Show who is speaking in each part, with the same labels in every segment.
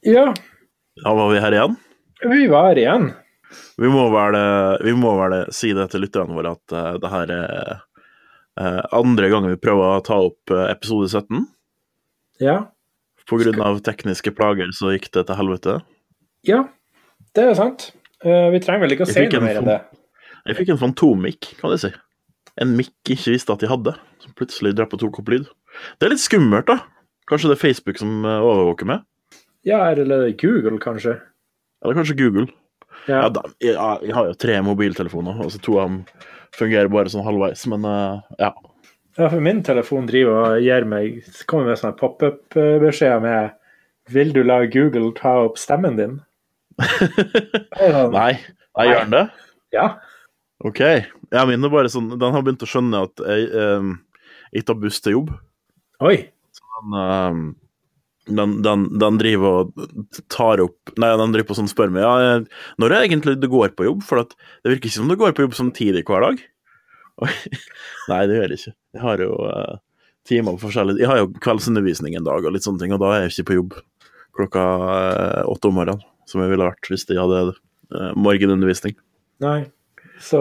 Speaker 1: Ja,
Speaker 2: Da var vi her igjen.
Speaker 1: vi var her igjen.
Speaker 2: Vi må vel, eh, vi må vel si det til lytterne våre at eh, det her er eh, andre gangen vi prøver å ta opp eh, episode 17.
Speaker 1: Ja.
Speaker 2: På grunn av tekniske plager så gikk det til helvete.
Speaker 1: ja, det er sant. Eh, vi trenger vel ikke å
Speaker 2: Jeg
Speaker 1: si
Speaker 2: fikk
Speaker 1: noe
Speaker 2: en
Speaker 1: mer enn det.
Speaker 2: fot- Jeg fikk en fantommikk, kan jeg si. En mikk jeg ikke visste at de hadde, som plutselig drev på tok opp lyd. Det er litt skummelt, da. Kanskje det er Facebook som eh, overvåker meg?
Speaker 1: Ja, eller Google, kanskje.
Speaker 2: Eller kanskje Google?
Speaker 1: Ja.
Speaker 2: Ja, da, jeg, jeg har jo tre mobiltelefoner, altså to av dem fungerer bare sånn halvveis, men eh, ja.
Speaker 1: ja, for min telefon driver og gir meg, kommer med sånne pop-up-beskjeder med Vil du la Google ta opp stemmen din? Det er sånn,
Speaker 2: Nei, jeg gjør den det?
Speaker 1: Ja.
Speaker 2: Ok. Jeg minner bare sånn Den har begynt å skjønne at jeg ehm, ikke tar buss til jobb.
Speaker 1: Oi.
Speaker 2: Den, ehm, den, den, den driver og tar opp Nei, den driver på sånn spør meg ja, jeg- når er det egentlig du går på jobb, for at det virker ikke som du går på jobb samtidig hver dag. Og- nei, det gjør jeg ikke. Jeg har jo eh, timer på forskjellig Jeg har jo kveldsundervisning en dag og litt sånne ting, og da er jeg ikke på jobb klokka eh, åtte om morgenen, som jeg ville vært hvis jeg hadde eh, morgenundervisning.
Speaker 1: Nei. Så,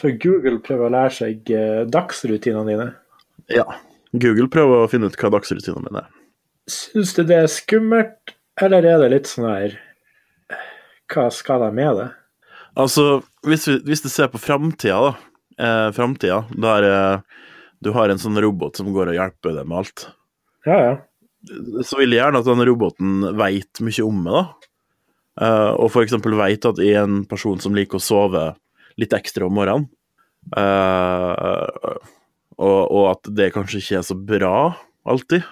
Speaker 1: så Google prøver å lære seg eh, dagsrutinene dine.
Speaker 2: Ja. Google prøver å finne ut hva dagsrutinene mine er.
Speaker 1: Syns du det er skummelt, eller er det litt sånn her eh, Hva skal de med det?
Speaker 2: Altså, hvis, vi, hvis du ser på framtida, da. Eh, framtida der eh, du har en sånn robot som går og hjelper deg med alt.
Speaker 1: Ja, ja.
Speaker 2: Så vil jeg gjerne at den roboten veit mye om meg, da. Eh, og for eksempel veit at jeg er en person som liker å sove litt ekstra om morgenen. Eh, og, og at det kanskje ikke er så bra alltid.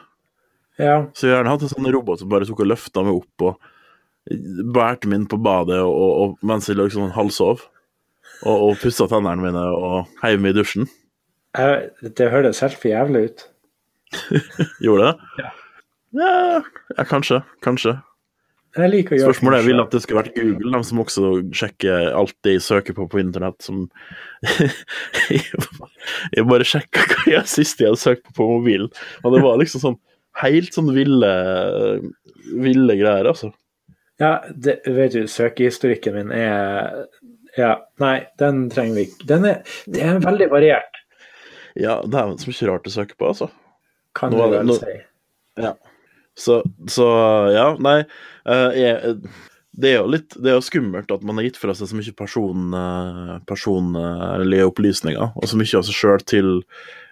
Speaker 1: Ja,
Speaker 2: Så jeg gjerne hatt en sånn robot som bare tok og løfta meg opp og bærte meg inn på badet og, og, og mens jeg liksom halvsov. Og, og pussa tennene mine og heiv meg i dusjen.
Speaker 1: jeg, det høres helt for jævlig ut.
Speaker 2: Gjorde det? Ja, ja kanskje. Kanskje.
Speaker 1: Jeg liker å gjøre
Speaker 2: Spørsmålet er
Speaker 1: ting
Speaker 2: jeg vil
Speaker 1: selv.
Speaker 2: at det skulle vært Google, de som også sjekker alt de søker på på internett, som Jeg bare sjekka hva jeg sist jeg hadde søkt på på mobilen, og det var liksom sånn helt sånn ville, ville greier, altså.
Speaker 1: Ja, det, vet du, søkehistorikken min er Ja, nei, den trenger vi ikke. Den er, det er veldig variert,
Speaker 2: Ja, dæven så mye rart å søke på, altså.
Speaker 1: kan
Speaker 2: Nå
Speaker 1: du
Speaker 2: er det-
Speaker 1: vel
Speaker 2: nå-
Speaker 1: si.
Speaker 2: Så, så ja, nei eh, jeg, Det er jo litt Det er jo skummelt at man har gitt fra seg så mye person, eh, personlige opplysninger, og så mye av seg sjøl til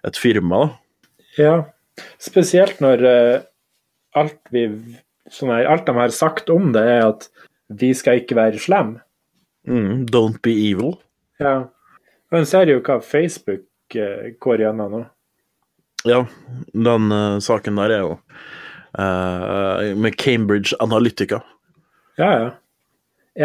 Speaker 2: et firma. da.
Speaker 1: Ja, spesielt når eh, alt vi sånn her, Alt de har sagt om det, er at vi skal ikke være slem.
Speaker 2: Mm, don't be evil.
Speaker 1: Ja. Men ser jo hva Facebook eh, går gjennom nå.
Speaker 2: Ja, den eh, saken der er jo eh, med Cambridge Analytica.
Speaker 1: Ja, ja.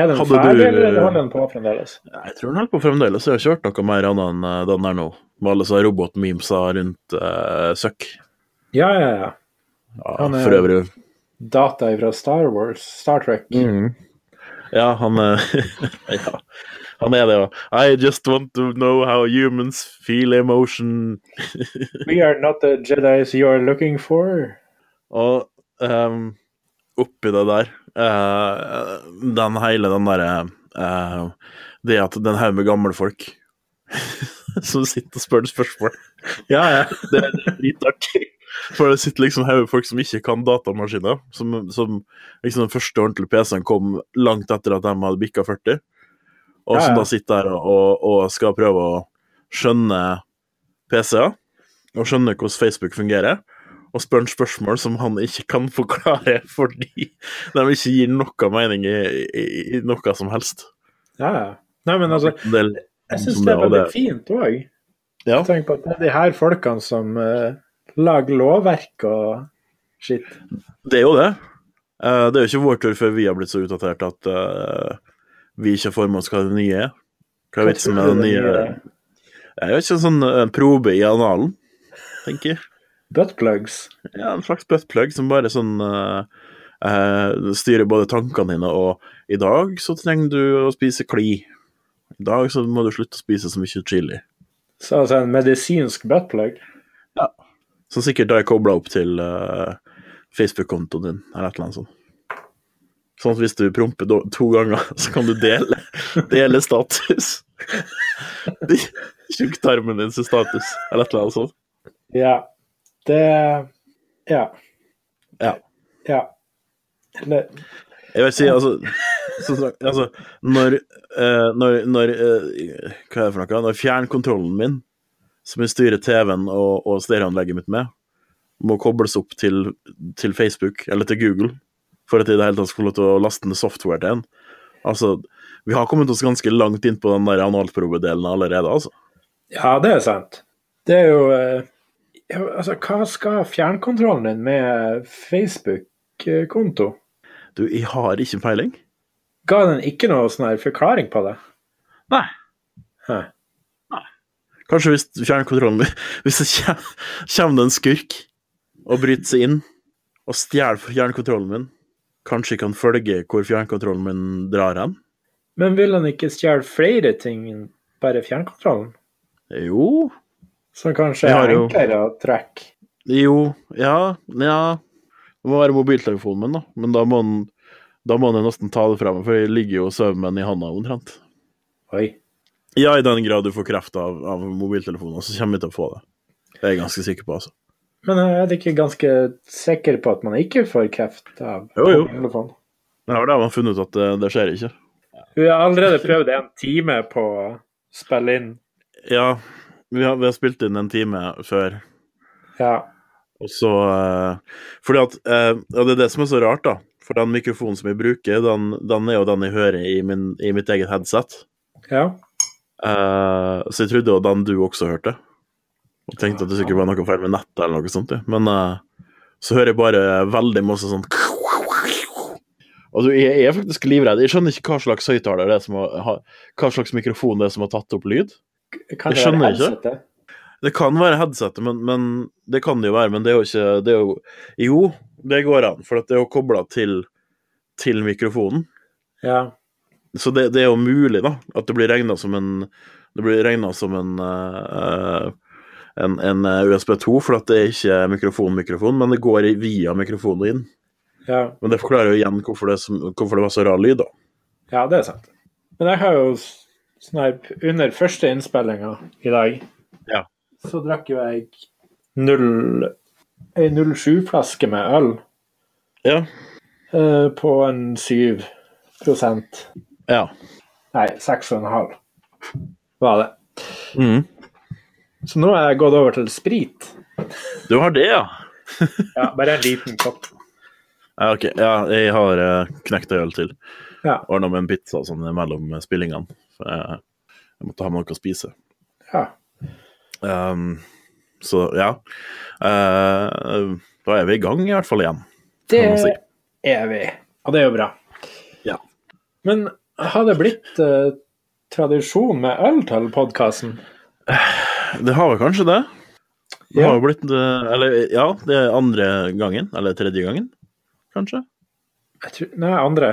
Speaker 1: Er den
Speaker 2: Hadde
Speaker 1: ferdig,
Speaker 2: du-
Speaker 1: eller holder den på fremdeles?
Speaker 2: Jeg tror den holder på fremdeles. Jeg har ikke hørt noe mer annet enn eh, den der nå, med alle sånne robotmemesa rundt eh, søkk.
Speaker 1: Ja, ja, ja.
Speaker 2: Ja,
Speaker 1: Han er-
Speaker 2: for øvrig
Speaker 1: Data fra Star Wars, Star Trek.
Speaker 2: Mm. Ja, han eh, ja, Han er det, ja. I just want to know how humans feel emotion.
Speaker 1: We are not the Jedis you are looking for.
Speaker 2: Og ehm, oppi det der eh, Den hele den derre eh, Det at den haug med gamle folk som sitter og spør spørsmål.
Speaker 1: Ja, ja.
Speaker 2: Det er dritartig. For det sitter liksom haug med folk som ikke kan datamaskiner. Som, som liksom den første ordentlige PC-en kom langt etter at de hadde bikka 40. Og
Speaker 1: Ja, ja.
Speaker 2: som da sitter der og, og skal prøve å skjønne PC-er. Og skjønne hvordan Facebook fungerer. Og spør en spørsmål som han ikke kan forklare fordi de ikke gir noe mening i, i, i noe som helst.
Speaker 1: ja. Nei, men altså,
Speaker 2: Det er litt
Speaker 1: jeg
Speaker 2: som
Speaker 1: syns det er
Speaker 2: og
Speaker 1: veldig fint òg.
Speaker 2: Ja.
Speaker 1: Tenk på at det er de her folkene som eh, lager lovverk og shit.
Speaker 2: Det er jo det. Eh, det er jo ikke vår tur før vi har blitt så utdatert at eh, vi ikke får med oss hva det nye er. Hva er vitsen med det nye?
Speaker 1: eh,
Speaker 2: Det er jo ikke en sånn eh, probe i analen, tenker jeg.
Speaker 1: Buttplugs.
Speaker 2: Ja, en slags buttplug som bare sånn eh, eh, styrer både tankene dine og I dag så trenger du å spise kli. I dag så må du slutte å spise så mye chili.
Speaker 1: Så altså en medisinsk buttplug.
Speaker 2: Som sikkert da er kobla opp til eh, Facebook-kontoen din, eller et eller annet sånt. Sånn at hvis du promper do- to ganger, så kan du dele, dele status. De- Tjukktarmen din sin status, eller et eller annet sånt.
Speaker 1: Ja. Det Ja.
Speaker 2: Ja.
Speaker 1: Ja. Eller
Speaker 2: Jeg vil si, altså, som sagt, altså Når, eh, når, når eh, Hva er det for noe? Når fjernkontrollen min, som jeg styrer TV-en og, og stereoanlegget mitt med, må kobles opp til, til Facebook eller til Google for at jeg i det hele tatt skal få lov til å laste ned software til en. Altså, vi har kommet oss ganske langt inn på den der analprobe-delen allerede, altså.
Speaker 1: Ja, det er sant. Det er jo eh, ja, Altså, hva skal fjernkontrollen din med Facebook-konto?
Speaker 2: Du, jeg har ikke peiling.
Speaker 1: Ga den ikke noe sånn her forklaring på det?
Speaker 2: Nei.
Speaker 1: Hæ.
Speaker 2: Kanskje hvis fjernkontrollen Hvis det kjem- kommer det en skurk og bryter seg inn og stjeler fjernkontrollen min, kanskje jeg kan følge hvor fjernkontrollen min drar hen?
Speaker 1: Men vil den ikke stjele flere ting enn bare fjernkontrollen?
Speaker 2: Jo
Speaker 1: Som kanskje
Speaker 2: Jeg har
Speaker 1: er
Speaker 2: jo-
Speaker 1: enklere å trekke?
Speaker 2: Jo, ja, ja Det må være mobiltelefonen min, da. Men da må den da må den nesten ta det fra meg, for jeg ligger jo og sover med den i handa omtrent.
Speaker 1: Oi.
Speaker 2: Ja, i den grad du får kreft av, av mobiltelefonen, så kommer jeg til å få det. Det er jeg ganske sikker på, altså.
Speaker 1: Men er du ikke ganske sikker på at man ikke får kreft av
Speaker 2: Jo, jo.
Speaker 1: telefonen?
Speaker 2: Men har da man funnet ut at det, det skjer ikke.
Speaker 1: Vi har allerede prøvd en time på å spille inn.
Speaker 2: Ja, vi har, vi har spilt inn en time før,
Speaker 1: Ja.
Speaker 2: og så eh, Fordi at eh, Ja, det er det som er så rart, da. For den mikrofonen som jeg bruker, den, den er jo den jeg hører i, min, i mitt eget headset.
Speaker 1: Ja.
Speaker 2: Eh, så jeg trodde jo den du også hørte. Og tenkte at det sikkert var noe feil med nettet eller noe sånt. ja. Men eh, så hører jeg bare veldig masse sånn Og du, jeg jeg er faktisk livredd. Jeg skjønner ikke hva slags høyttaler det er som har har- Hva slags mikrofon det er som har tatt opp lyd.
Speaker 1: Kan det være
Speaker 2: Jeg skjønner ikke.
Speaker 1: headsetet?
Speaker 2: Det kan være headsetet, men, men det kan det jo være. Men det er jo ikke det er jo, jo, det går an, for at det er jo kobla til, til mikrofonen.
Speaker 1: Ja.
Speaker 2: Så det, det er jo mulig, da, at det blir regna som en Det blir regnet som en, eh, en, en eh, USB2, for at det er ikke mikrofon-mikrofon, men det går i- via mikrofonen inn.
Speaker 1: ja.
Speaker 2: Men det forklarer jo igjen hvorfor det, er som, hvorfor det var så rar lyd, da.
Speaker 1: Ja, det er sant. Men jeg har jo s- sånn her Under første innspillinga i dag,
Speaker 2: Ja.
Speaker 1: så drakk jo jeg null ei 07-flaske med øl
Speaker 2: Ja.
Speaker 1: eh, på en 7
Speaker 2: ja.
Speaker 1: Nei, 6,5 var det. Mm. Så nå har jeg gått over til sprit.
Speaker 2: Du har det, ja?
Speaker 1: Ja, Bare en liten kopp.
Speaker 2: Ja, ok. Ja, jeg har eh, knekt ei øl til.
Speaker 1: Ja.
Speaker 2: Ordna med en pizza og sånn mellom spillingene. For jeg, jeg måtte ha med noe å spise.
Speaker 1: Ja.
Speaker 2: Ehm, så ja. Eh, da er vi i gang, i hvert fall igjen.
Speaker 1: Det
Speaker 2: man si.
Speaker 1: er vi. Og det er jo bra.
Speaker 2: Ja.
Speaker 1: Men har det blitt eh, tradisjon med øl til podkasten?
Speaker 2: Det har vel kanskje det? Det
Speaker 1: Ja.
Speaker 2: har jo blitt eh, Eller ja, det er andre gangen. Eller tredje gangen, kanskje?
Speaker 1: Jeg tror- Nei, andre.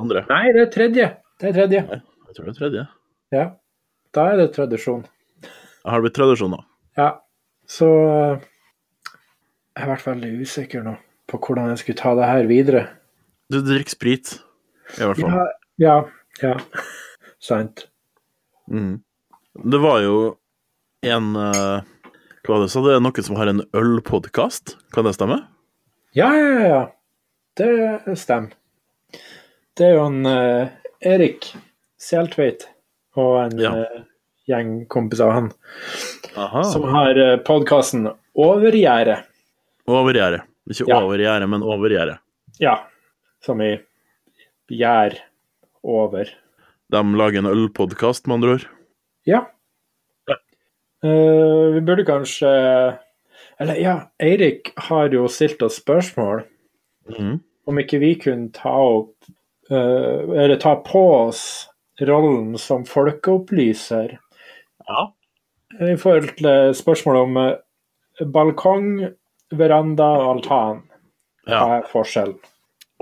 Speaker 2: Andre.
Speaker 1: Nei, det er tredje. Det er tredje.
Speaker 2: Jeg tror det er tredje.
Speaker 1: Ja. Da er det tradisjon.
Speaker 2: Har det blitt tradisjon, da?
Speaker 1: Ja. Så eh, Jeg har vært veldig usikker nå på hvordan jeg skulle ta det her videre.
Speaker 2: Du drikker sprit, i hvert fall.
Speaker 1: Ja. Ja. ja. Sant.
Speaker 2: Mm. Det var jo en eh, Hva var det du sa? Det er noen som har en ølpodkast, kan det stemme?
Speaker 1: Ja, ja, ja, ja. Det stemmer. Det er jo en eh, Erik Seltveit og en
Speaker 2: Ja. Ah.
Speaker 1: eh, gjeng kompiser av han
Speaker 2: Aha.
Speaker 1: som har uh, podkasten Overgjerdet.
Speaker 2: Over gjerdet. Ikke
Speaker 1: Ja.
Speaker 2: over gjerdet, men over gjerdet.
Speaker 1: Ja. Som i gjær over.
Speaker 2: De lager en ølpodkast, med andre ord.
Speaker 1: Ja.
Speaker 2: Ja.
Speaker 1: Eh, vi burde kanskje Eller ja, Eirik har jo stilt oss spørsmål
Speaker 2: Mhm.
Speaker 1: om ikke vi kunne ta opp eh, Eller ta på oss rollen som folkeopplyser eh,
Speaker 2: Ja.
Speaker 1: i forhold til spørsmål om eh, balkong, veranda og altan.
Speaker 2: ja.
Speaker 1: Hva er forskjellen?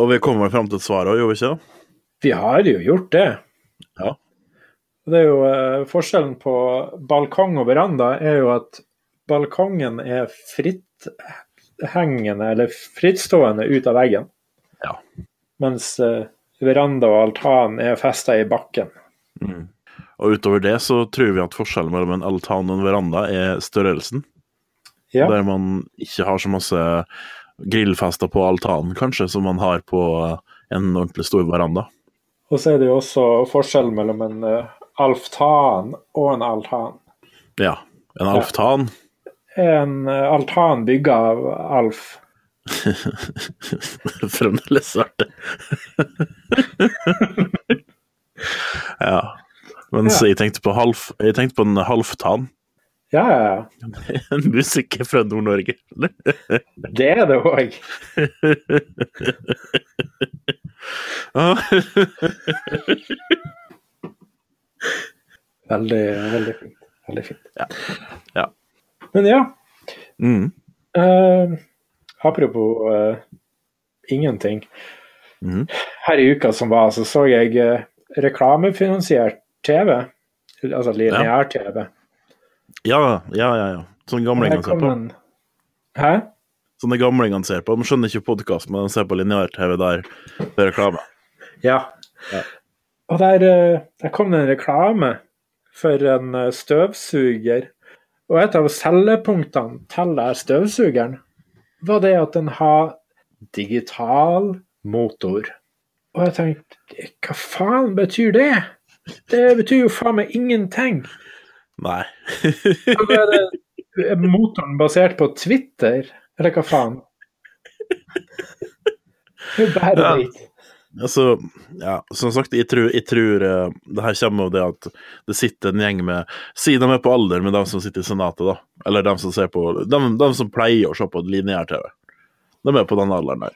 Speaker 2: Og vi kommer vel fram til et svar òg, gjorde vi ikke? det?
Speaker 1: Vi har jo gjort det.
Speaker 2: Ja.
Speaker 1: Og Det er jo eh, Forskjellen på balkong og veranda er jo at balkongen er fritthengende eller frittstående ut av veggen.
Speaker 2: Ja.
Speaker 1: mens eh, veranda og altan er festa i bakken.
Speaker 2: Mm. Og utover det så tror vi at forskjellen mellom en altan og en veranda er størrelsen.
Speaker 1: Ja.
Speaker 2: Der man ikke har så masse grillfester på altanen, kanskje, som man har på en ordentlig stor veranda.
Speaker 1: Og så er det jo også forskjell mellom en eh, alftan og en altan.
Speaker 2: Ja, en alftan.
Speaker 1: En eh, altan bygga av alf.
Speaker 2: Fremdeles svarte. ja. Mens
Speaker 1: Ja.
Speaker 2: jeg tenkte på halv, jeg tenkte på en halvtan.
Speaker 1: Ja, ja, ja.
Speaker 2: En musiker fra Nord-Norge.
Speaker 1: Det er det òg.
Speaker 2: Ah,
Speaker 1: Veldig, veldig fint. Veldig fint.
Speaker 2: Ja. Ja.
Speaker 1: Men ja,
Speaker 2: mm.
Speaker 1: eh, apropos eh, ingenting.
Speaker 2: Mhm.
Speaker 1: Her i uka som var, så så jeg eh, reklamefinansiert TV. Altså lineær-TV.
Speaker 2: Ja, ja, ja. ja. Sånne gamlingene ser på.
Speaker 1: Hæ?
Speaker 2: Sånne gamlingene ser på. De skjønner ikke podkast, men de ser på lineær-TV der det er reklame.
Speaker 1: Ja.
Speaker 2: Ja.
Speaker 1: Og der, eh, der kom det en reklame for en eh, støvsuger. Og et av selgepunktene til den støvsugeren var det at den har digital motor. Og jeg tenkte, hva faen betyr det? Det betyr jo faen meg ingenting.
Speaker 2: Nei.
Speaker 1: Og da er det- er motoren basert på Twitter, eller hva faen? Det er bare
Speaker 2: Ja.
Speaker 1: dritt.
Speaker 2: Altså, ja, som sagt, jeg tror, jeg tror eh, det her kommer av det at det sitter en gjeng med Si de er på alder med de som sitter i Senatet, da. Eller de som ser på De, de som pleier å se på lineær-TV. De er på den alderen der.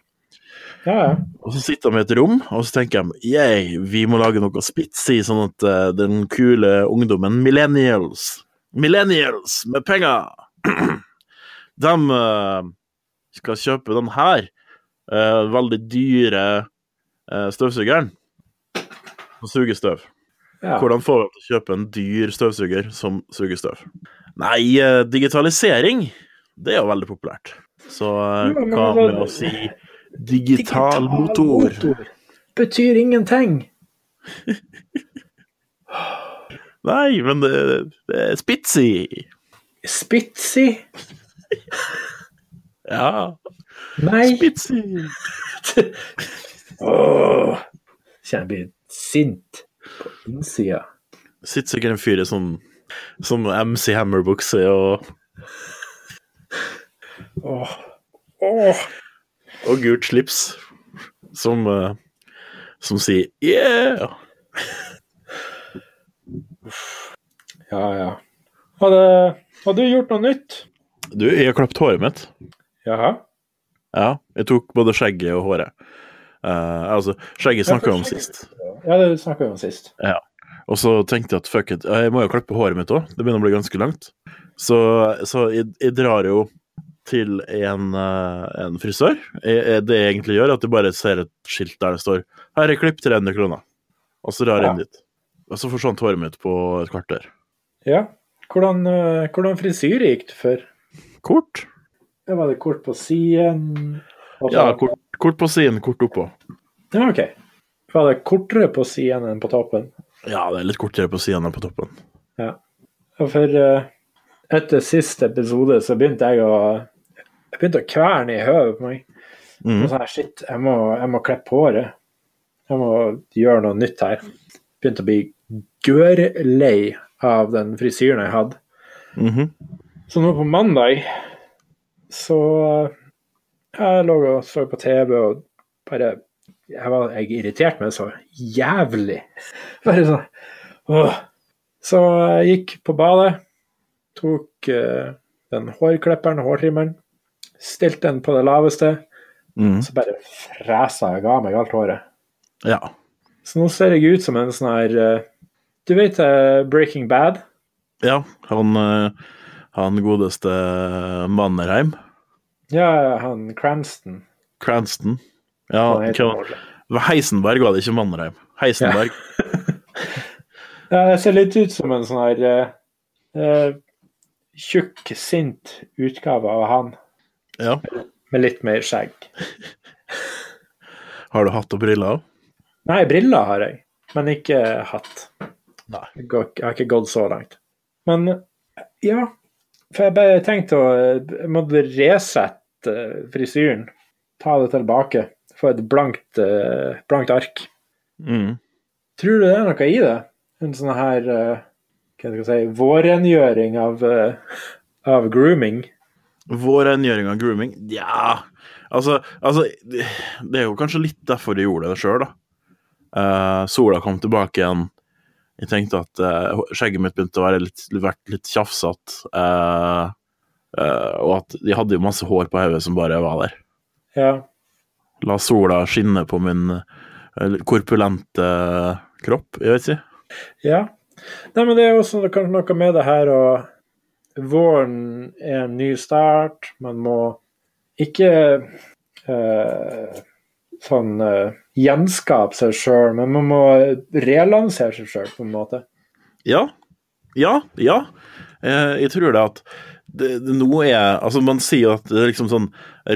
Speaker 1: Ja, ja.
Speaker 2: Og så sitter de i et rom, og så tenker de yeah, vi må lage noe spitsy, sånn at eh, den kule ungdommen, millennials Millennials med penger! de eh, skal kjøpe den her eh, veldig dyre eh, støvsugeren som suger støv.
Speaker 1: ja.
Speaker 2: Hvordan får vi dem til å kjøpe en dyr støvsuger som suger støv? Nei, eh, digitalisering, det er jo veldig populært. Så eh,
Speaker 1: Jo, men
Speaker 2: hva
Speaker 1: hva-
Speaker 2: med å si digital motor?
Speaker 1: Betyr ingenting.
Speaker 2: Nei, men det, det er spitsy.
Speaker 1: Spitzy?
Speaker 2: Ja,
Speaker 1: Nei.
Speaker 2: spitsy.
Speaker 1: Åh. Kjenner jeg blir sint på innsida.
Speaker 2: Sitter sikkert en fyr i sånn, sånn MC Hammer-bukse og,
Speaker 1: Åh. Åh.
Speaker 2: og gult slips som, eh, som sier yeah.
Speaker 1: Ja, ja. Har du, har du gjort noe nytt?
Speaker 2: Du, jeg har klapt håret mitt.
Speaker 1: Jaha.
Speaker 2: Ja, jeg tok både skjegget og håret. Eh, altså, skjegget snakka jeg om sist.
Speaker 1: Ja, det snakka vi om sist.
Speaker 2: Og så tenkte jeg at fuck it, jeg må jo klippe håret mitt òg. Det begynner å bli ganske langt. Så, så jeg, jeg drar jo til en, eh, en frisør. Jeg, jeg, det jeg egentlig gjør, er at jeg bare ser et skilt der det står 'Her er klipp 300 kroner'. Og så drar jeg inn dit. Og så forsvant håret mitt på et kvarter.
Speaker 1: Ja. Hvordan, eh, hvordan frisyre gikk det for?
Speaker 2: Kort?
Speaker 1: Ja, Var det kort på siden? Og så-
Speaker 2: Ja, kort, kort på siden, kort oppå.
Speaker 1: ja, OK. Var det kortere på siden enn på toppen?
Speaker 2: Ja, det er litt kortere på siden enn på toppen.
Speaker 1: Og for eh, etter siste episode så begynte jeg å jeg begynte å kverne i høvet på meg. Og
Speaker 2: Mm.
Speaker 1: så her, shit, jeg må, jeg må klippe håret. Jeg må gjøre noe nytt her. Begynte å bli gørrlei av den frisyren jeg hadde.
Speaker 2: Mhm.
Speaker 1: Så nå på mandag så eh, jeg lå og så på TV og bare Jeg, var, jeg irriterte meg så jævlig. Bare sånn åh. Så jeg gikk på badet, tok eh, den hårklipperen, hårtrimmeren, stilte den på det laveste,
Speaker 2: Mm.
Speaker 1: så bare fresa jeg av meg alt håret.
Speaker 2: Ja.
Speaker 1: Så nå ser jeg ut som en sånn her eh, Du vet eh, Breaking Bad?
Speaker 2: Ja, han, eh, han godeste Mannerheim,
Speaker 1: Ja, han Cranston.
Speaker 2: Cranston
Speaker 1: Han
Speaker 2: Ja,
Speaker 1: heter
Speaker 2: hva-
Speaker 1: Morley.
Speaker 2: Heisenberg var det ikke Mannerheim. Heisenberg.
Speaker 1: Ja, jeg ser litt ut som en sånn her eh, eh, tjukk, sint utgave av han,
Speaker 2: Ja.
Speaker 1: med litt mer skjegg.
Speaker 2: Har du hatt og briller òg?
Speaker 1: Nei, briller har jeg, men ikke hatt.
Speaker 2: Nei.
Speaker 1: Jeg går ikke- jeg har ikke gått så langt. Men ja, for jeg bare tenkte å Jeg måtte resette eh, frisyren. Ta det tilbake. Få et blankt, eh, blankt ark.
Speaker 2: Mm.
Speaker 1: Tror du det er noe i det? En sånn her eh, hva skal jeg si, vårrengjøring av, eh, av grooming?
Speaker 2: Vår rengjøring av grooming? Nja altså, altså Det det er jo kanskje litt derfor de gjorde det sjøl, da. Eh, sola kom tilbake igjen. Jeg tenkte at eh, skjegget mitt begynte å være litt, vært litt tjafsete. eh, eh, og at de hadde jo masse hår på hodet som bare var der.
Speaker 1: Ja.
Speaker 2: La sola skinne på min eh, korpulente eh, kropp, jeg vet ikke.
Speaker 1: Ja. Nei, men det er også kanskje noe med det her og Våren er en ny start. Man må ikke eh, sånn eh, gjenskape seg sjøl, men man må relansere seg sjøl, på en måte.
Speaker 2: Ja. Ja. Ja. Eh, jeg tror det at det, det, nå er Altså, man sier jo at det er liksom sånn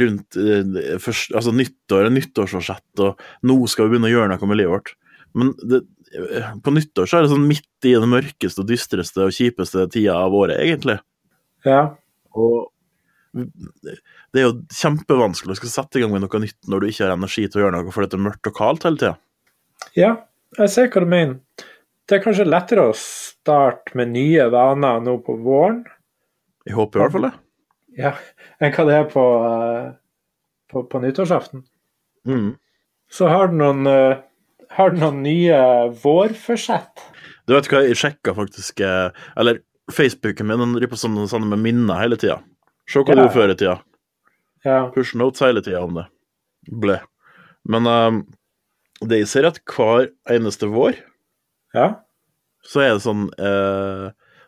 Speaker 2: rundt eh, først, altså nyttår er nyttårsforsett, og nå skal vi begynne å gjøre noe med livet vårt. Men det, eh, på nyttår så er det sånn midt i den mørkeste og dystreste og kjipeste tida av året, egentlig.
Speaker 1: Ja.
Speaker 2: Og det er jo kjempevanskelig å skal sette i gang med noe nytt når du ikke har energi til å gjøre noe fordi det er mørkt og kaldt hele tida.
Speaker 1: ja, jeg ser hva du mener. Det er kanskje lettere å starte med nye vaner nå på våren
Speaker 2: Jeg håper i hvert fall det.
Speaker 1: ja, enn hva det er på, eh, på, på nyttårsaften.
Speaker 2: Mm.
Speaker 1: Så har du noen, eh, har du noen nye vårforsett?
Speaker 2: Du vet hva, jeg sjekka faktisk eh, Eller Facebooken min den driver på sånn, sånn med minner hele tida. Se hva du
Speaker 1: Ja.
Speaker 2: gjorde før i tida.
Speaker 1: Ja.
Speaker 2: Push notes hele tida om det. Ble. Men eh, det jeg ser, er at hver eneste vår
Speaker 1: Ja.
Speaker 2: så er det sånn eh,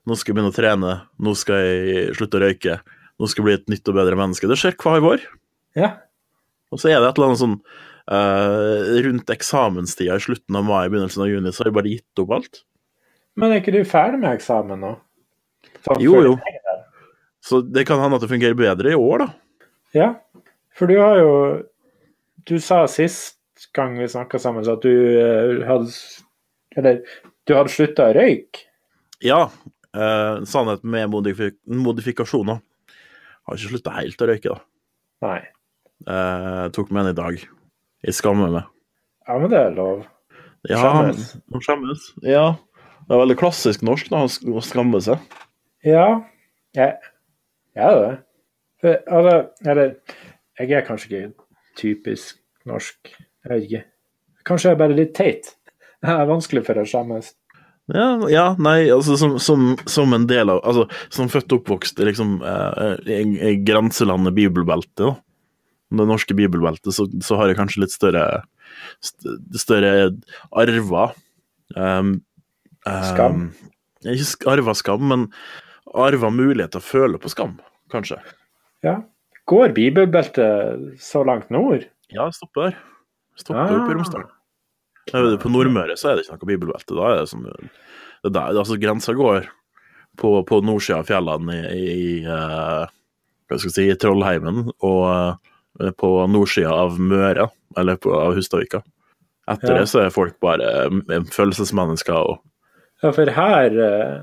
Speaker 2: Nå skal jeg begynne å trene. Nå skal jeg slutte å røyke. Nå skal jeg bli et nytt og bedre menneske. Det skjer hver vår.
Speaker 1: ja.
Speaker 2: Og så er det et eller annet sånn eh, Rundt eksamenstida i slutten av mai, begynnelsen av juni, så har jeg bare gitt opp alt.
Speaker 1: Men er ikke du ferdig med eksamen nå? Sånn
Speaker 2: Jo,
Speaker 1: før-
Speaker 2: jo. Så det kan hende at det fungerer bedre i år, da.
Speaker 1: Ja. For du har jo Du sa sist gang vi snakka sammen, så at du eh, hadde s- Eller du hadde slutta å røyke.
Speaker 2: Ja. Eh, sannhet med modifik modifikasjoner. Har ikke slutta helt å røyke, da.
Speaker 1: Nei.
Speaker 2: Eh, tok med en i dag. Jeg skammer meg.
Speaker 1: Ja, men det er lov.
Speaker 2: Ja,
Speaker 1: Skjemmes.
Speaker 2: Han skjemmes. Ja. Det er veldig klassisk norsk da, å sk- å skamme seg.
Speaker 1: Ja. Jeg jeg er det. For, altså, eller Jeg er kanskje ikke typisk norsk. Jeg vet ikke. Kanskje jeg er bare litt teit. Det er vanskelig for å skjemmes.
Speaker 2: Ja, ja nei, altså som, som, som en del av Altså som født og oppvokst i liksom eh, i, i grenselandet bibelbeltet, da. Det norske bibelbeltet, så, så har jeg kanskje litt større st Større arver. Um, um,
Speaker 1: Skam?
Speaker 2: Ikke sk- arva skam, men arva mulighet til å føle på skam, kanskje.
Speaker 1: Ja. Går bibelbeltet så langt nord?
Speaker 2: Ja, stoppe der. Stoppe
Speaker 1: Ah.
Speaker 2: opp i Romsdal. Jeg vet, På Nordmøre så er det ikke noe bibelbelte. Da er det som det er der, altså Grensa går på, på nordsida av fjellene i, i, i eh, hva skal jeg si, i Trollheimen og eh, på nordsida av Møre, eller på, av Hustadvika. Etter
Speaker 1: Ja.
Speaker 2: det så er folk bare eh, følelsesmennesker og
Speaker 1: Ja, for her eh,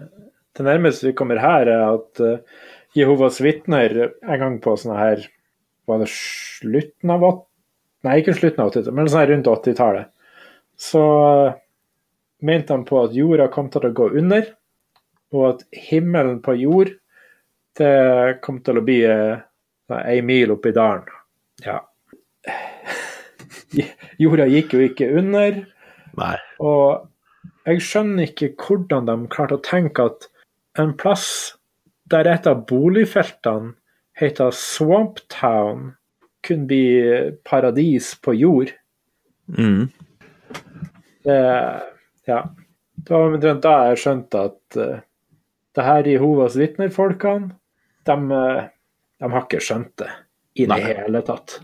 Speaker 1: Det nærmeste vi kommer her, er at eh, Jehovas vitner en gang på sånne her Var det slutten av 80... Nei, ikke slutten av 80-tallet, men sånn her rundt 80-tallet. Så eh, mente han på at jorda kom til å gå under, og at himmelen på jord det kom til å bli eh, nei, ei mil oppi dalen. Ja. Jorda gikk jo ikke under.
Speaker 2: Nei.
Speaker 1: Og jeg skjønner ikke hvordan de klarte å tenke at en plass der et av boligfeltene heter Swamptown, kunne bli paradis på jord.
Speaker 2: Mm.
Speaker 1: Det, ja. det var omtrent da jeg skjønte at eh, det her Jehovas vitner-folkene, de, eh, de har ikke skjønt det i det
Speaker 2: Nei.
Speaker 1: hele tatt.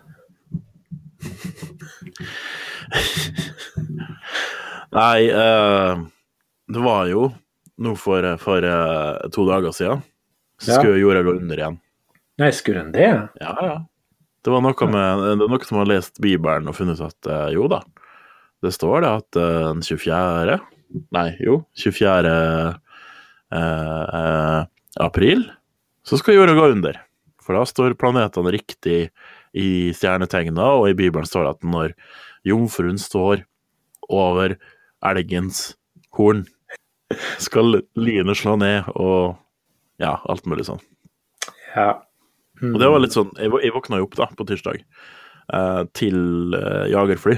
Speaker 2: Nei, eh, det var jo nå for, for eh, to dager siden, så
Speaker 1: Ja.
Speaker 2: skulle jorda gå under igjen.
Speaker 1: Nei, skulle en det?
Speaker 2: Ja, ja. Det var noe med Det er noen som har lest Bibelen og funnet ut at eh, jo da, det står det at eh, den 24. Nei, jo, 24. eh, eh, april så skal jorda gå under. For da står planetene riktig i stjernetegna, og i Bibelen står det at når jomfruen står over elgens horn, skal lynet slå ned og ja, alt mulig sånn.
Speaker 1: Ja.
Speaker 2: Og det var litt sånn, jeg, vå- jeg våkna jo opp da, på tirsdag, eh, til eh, jagerfly.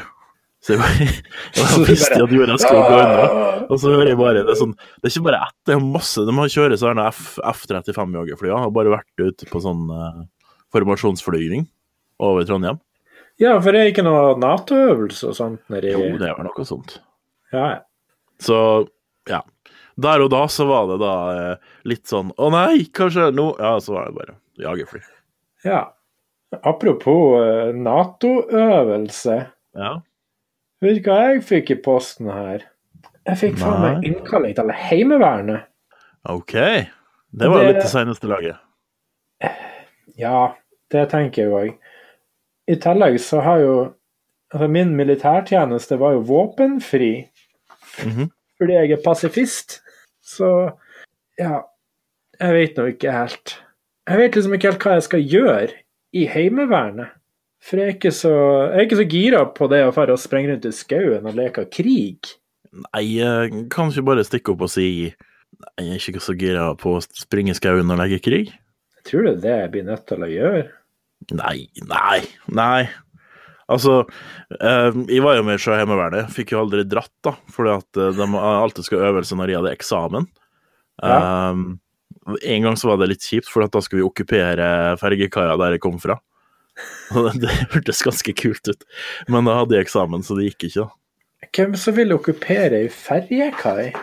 Speaker 2: Så jeg, var- jeg visste at jorda skulle gå unna. Og så hører jeg bare, det er, sånn, det er ikke bare ett, det er masse. De har kjører sånne F- F-35-jagerflyene, har bare vært ute på sånn eh, formasjonsflygning over Trondheim.
Speaker 1: Ja, for det er ikke noe Nato-øvelse og sånt nedi
Speaker 2: Jo, det var noe sånt.
Speaker 1: Ja,
Speaker 2: Så ja. Der og da så var det da eh, litt sånn Å nei, hva skjer nå? Ja, så var det bare jagerfly.
Speaker 1: ja. Apropos eh, Nato-øvelse.
Speaker 2: Ja.
Speaker 1: Vet du hva jeg fikk i posten her? Jeg fikk faen meg
Speaker 2: Nei.
Speaker 1: innkalling til Heimevernet.
Speaker 2: OK. Det var jo
Speaker 1: Det-
Speaker 2: litt det seneste laget.
Speaker 1: Ja, det tenker jeg òg. I tillegg så har jo altså Min militærtjeneste var jo våpenfri
Speaker 2: Mhm.
Speaker 1: fordi jeg er pasifist. Så ja Jeg vet nå ikke helt. Jeg vet liksom ikke helt hva jeg skal gjøre i Heimevernet. For jeg er ikke så, jeg er ikke så gira på det å fare og sprenge rundt i skauen og leke krig.
Speaker 2: Nei, eh, kan ikke bare stikke opp og si Nei, jeg er ikke så gira på å springe i skauen og legge krig?
Speaker 1: Jeg tror det er det jeg blir nødt til å gjøre.
Speaker 2: Nei, nei, nei. Altså, eh, jeg var jo med i Sjø Heimevernet. Fikk jo aldri dratt, da, fordi at eh, de alltid skal ha øvelse når de hadde eksamen.
Speaker 1: Ja.
Speaker 2: Um, en gang så var det litt kjipt, for at da skulle vi okkupere fergekaia der jeg kom fra. Og det, det hørtes ganske kult ut, men da hadde jeg eksamen, så det gikk ikke. da.
Speaker 1: Hvem som vil okkupere ei ferjekai?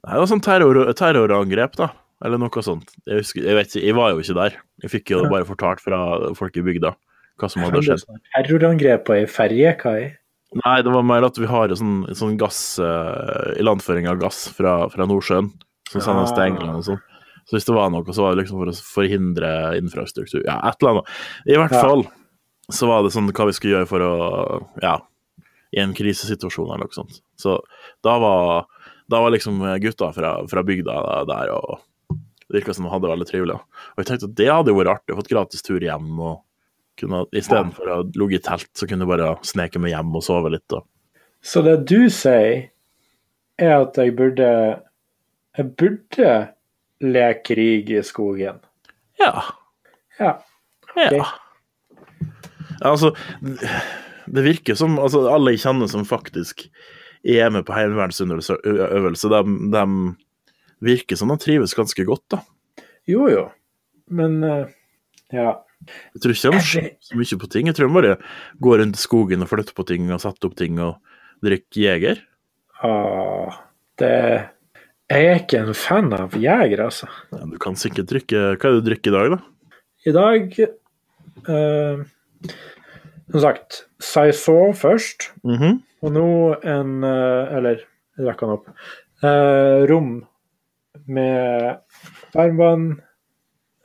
Speaker 2: Nei, det var sånn terror, terrorangrep, da. Eller noe sånt. Jeg, husker, jeg vet ikke, jeg var jo ikke der. Jeg fikk jo bare fortalt fra folk i bygda hva som hadde skjedd.
Speaker 1: Terrorangrep på ei ferjekai?
Speaker 2: Nei, det var mer at vi har en sånn, en sånn gass eh, Ilandføring av gass fra, fra Nordsjøen. Som sendes til
Speaker 1: Ah.
Speaker 2: England og sånn. Så hvis det var noe, så var det liksom for å forhindre infrastruktur. Ja, et eller annet. I hvert
Speaker 1: Ja.
Speaker 2: fall så var det sånn hva vi skulle gjøre for å Ja, i en krisesituasjon eller noe sånt. Så da var, da var liksom gutta fra, fra bygda der og det virka som de hadde det veldig trivelig. Og jeg tenkte at det hadde jo vært artig, fått gratis tur hjem og kunne, istedenfor å ligge i telt, så kunne jeg bare sneke meg hjem og sove litt. Og.
Speaker 1: Så det du sier, er at jeg burde Jeg burde leke krig i skogen.
Speaker 2: Ja.
Speaker 1: Ja.
Speaker 2: Ja. Altså, det virker som altså, alle jeg kjenner som faktisk er med på heimevernsøvelse, de, de virker som de trives ganske godt, da.
Speaker 1: Jo, jo. Men eh, ja.
Speaker 2: Jeg tror ikke de ser så mye på ting. Jeg tror de bare går rundt i skogen og flytter på ting og setter opp ting og drikker jeger.
Speaker 1: Ah, det Jeg er ikke en fan av jeger, altså.
Speaker 2: Ja, du kan sikkert drikke Hva er det du drikker i dag, da?
Speaker 1: I dag eh, Som sagt, Saison først.
Speaker 2: Mhm.
Speaker 1: Og nå en eh, Eller, jeg rakk han opp. Eh, rom med varmvann,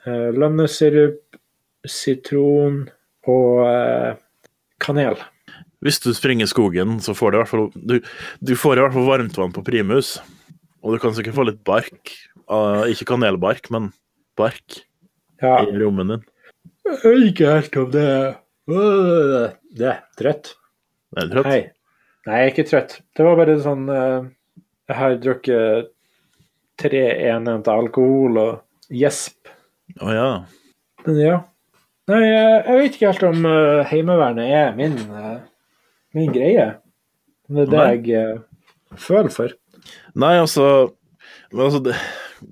Speaker 1: eh, lønnesirup, sitron og eh, kanel.
Speaker 2: Hvis du springer i skogen, så får du i hvert fall du, du får i hvert fall varmtvann på primus. Og du kan sikkert få litt bark. Ah, ikke kanelbark, men bark
Speaker 1: Ja,
Speaker 2: i rommet din.
Speaker 1: jeg vet ikke helt om det Øh, Det er trøtt.
Speaker 2: Er du trøtt?
Speaker 1: Hei. Nei, jeg er ikke trøtt. Det var bare sånn eh, Jeg har drukket tre enheter alkohol og gjesp.
Speaker 2: Å ja.
Speaker 1: Men ja. Nei, jeg, jeg vet ikke helt om eh, Heimevernet er min, eh, min greie. Men det er det
Speaker 2: Nei.
Speaker 1: jeg eh, føler for.
Speaker 2: Nei, altså, men altså det,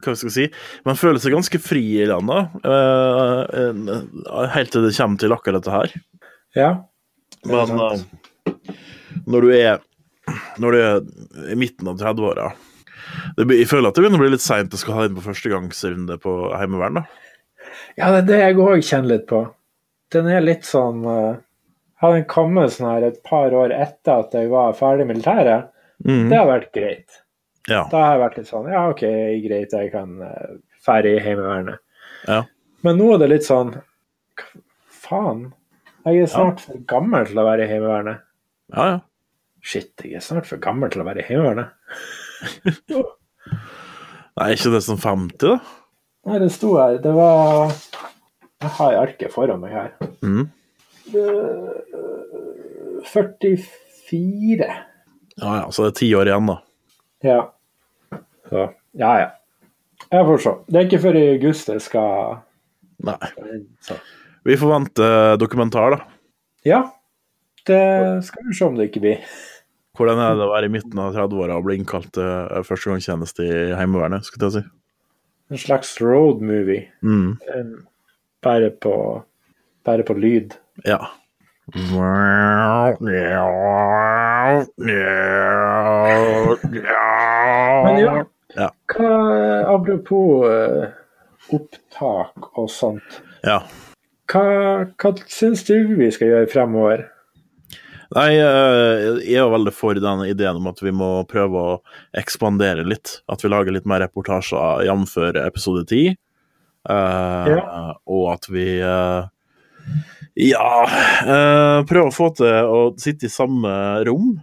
Speaker 2: Hva skal jeg si? Man føler seg ganske fri i landet. eh, eh, helt til det kommer til akkurat dette her.
Speaker 1: Ja.
Speaker 2: Men
Speaker 1: sant.
Speaker 2: eh, når du er Når du er i midten av 30-åra det blir- Jeg føler at det begynner å bli litt seint å skal ha inn på førstegangsrunde på heimevern. da.
Speaker 1: ja, det er det jeg òg kjenner litt på. Den er litt sånn eh, Hadde den kommet sånn her et par år etter at jeg var ferdig i militæret,
Speaker 2: Mm.
Speaker 1: det hadde vært greit.
Speaker 2: Ja.
Speaker 1: Da har jeg vært litt sånn Ja, OK, greit, jeg kan eh, ferdig i Heimevernet.
Speaker 2: Ja.
Speaker 1: Men nå er det litt sånn hva Faen. Jeg er snart for gammel til å være i Heimevernet.
Speaker 2: Ja, ja.
Speaker 1: Shit, jeg er snart for gammel til å være i Heimevernet.
Speaker 2: Nei, ikke det som 50, da?
Speaker 1: Nei, det sto her. Det var Jeg har arket foran meg her.
Speaker 2: Mm.
Speaker 1: Eh, 44.
Speaker 2: Ja, ja, så det er ti år igjen, da.
Speaker 1: Ja. Så, ja, ja. Jeg får se. Det er ikke før i august jeg skal
Speaker 2: Nei.
Speaker 1: så.
Speaker 2: Vi får vente eh, dokumentar, da.
Speaker 1: Ja. Det skal vi se om det ikke blir.
Speaker 2: Hvordan er det å være i midten av 30-åra og bli innkalt til eh, førstegangstjeneste i Heimevernet? skulle jeg til å si.
Speaker 1: En slags road movie.
Speaker 2: Mm.
Speaker 1: En- Bare på, bare på lyd.
Speaker 2: Ja. Men
Speaker 1: Men ja,
Speaker 2: Ja.
Speaker 1: hva, apropos eh, opptak og sånt.
Speaker 2: ja.
Speaker 1: Hva, hva syns du vi skal gjøre fremover?
Speaker 2: Nei, eh, jeg er jo veldig for den ideen om at vi må prøve å ekspandere litt. At vi lager litt mer reportasjer jf. episode 10. Eh,
Speaker 1: Ja.
Speaker 2: Og at vi eh, ja eh, prøver å få til å sitte i samme rom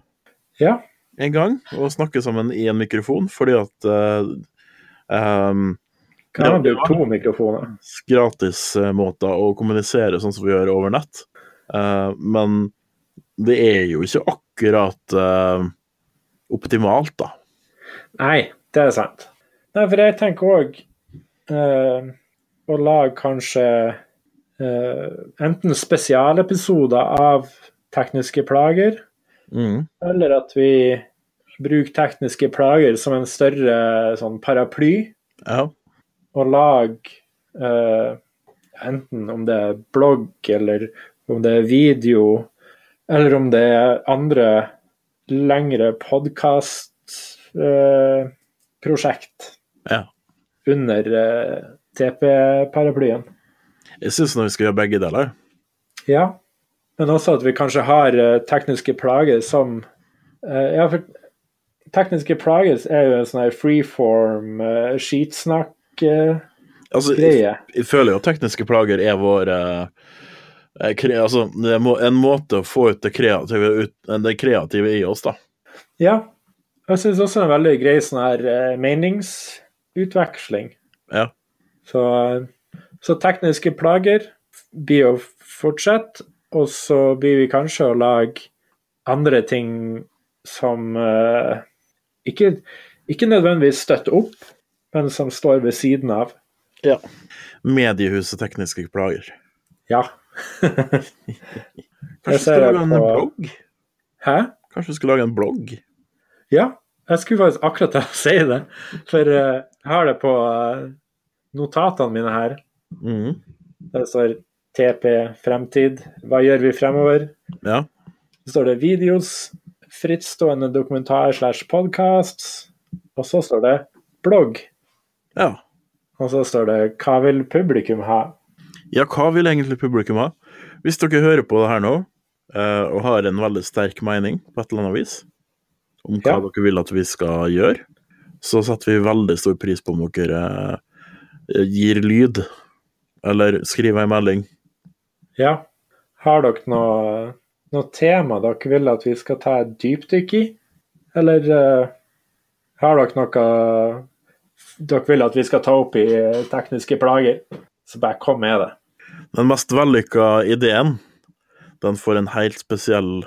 Speaker 1: Ja.
Speaker 2: en gang og snakke sammen i en mikrofon, fordi at eh, ehm,
Speaker 1: Kan jeg ha
Speaker 2: Ja.
Speaker 1: brukt to mikrofoner?
Speaker 2: gratis eh, måter å kommunisere sånn som vi gjør over nett. Eh, men det er jo ikke akkurat eh, optimalt, da.
Speaker 1: Nei, det er sant. Nei, for jeg tenker òg å lage kanskje eh, enten spesialepisoder av tekniske plager, Mm. eller at vi bruker tekniske plager som en større sånn paraply.
Speaker 2: Ja.
Speaker 1: å lage eh, enten om det er blogg eller om det er video, eller om det er andre lengre podkastprosjekt
Speaker 2: ja.
Speaker 1: under eh, TP-paraplyen.
Speaker 2: Jeg syns vi skal gjøre begge deler.
Speaker 1: Ja, men også at vi kanskje har eh, tekniske plager som eh, Ja, for tekniske plager er jo en sånn her freeform eh, uh, skitsnakk-greie.
Speaker 2: Altså, jeg, jeg føler jo at tekniske plager er vår eh, eh, kre, Altså, det må, en måte å få ut det kreative, ut, eh, det kreative i oss, da.
Speaker 1: Ja. Jeg syns også det er en veldig grei sånn her eh, meningsutveksling.
Speaker 2: Ja.
Speaker 1: Så, så tekniske plager blir å fortsette, og så blir vi kanskje å lage andre ting som eh, ikke, ikke nødvendigvis støtter opp, men som står ved siden av.
Speaker 2: Mediehuset Tekniske Plager.
Speaker 1: Ja. Jeg
Speaker 2: Kanskje du
Speaker 1: ser
Speaker 2: skal
Speaker 1: det
Speaker 2: lage en
Speaker 1: på-
Speaker 2: blogg?
Speaker 1: Hæ?
Speaker 2: Kanskje du skal lage en blogg?
Speaker 1: Ja, jeg skulle faktisk akkurat til å si det, for eh, jeg har det på eh, notatene mine her. Mm.
Speaker 2: Mhm.
Speaker 1: Der står TP Fremtid. Hva gjør vi fremover?
Speaker 2: Ja.
Speaker 1: Så står det videos, frittstående dokumentar slash podcasts, og så står det blogg.
Speaker 2: ja.
Speaker 1: Og så står det hva vil publikum ha?
Speaker 2: Ja, hva vil egentlig publikum ha? Hvis dere hører på det her nå, eh, og har en veldig sterk mening på et eller annet vis, om hva
Speaker 1: Ja.
Speaker 2: dere vil at vi skal gjøre, så setter vi veldig stor pris på om dere eh, gir lyd, eller skriver en melding.
Speaker 1: Ja. Har dere noe, noe tema dere vil at vi skal ta et dypdykk i? Eller eh, har dere noe dere vil at vi skal ta opp i eh, tekniske plager? Så bare kom med det.
Speaker 2: Den mest vellykka ideen, den får en helt spesiell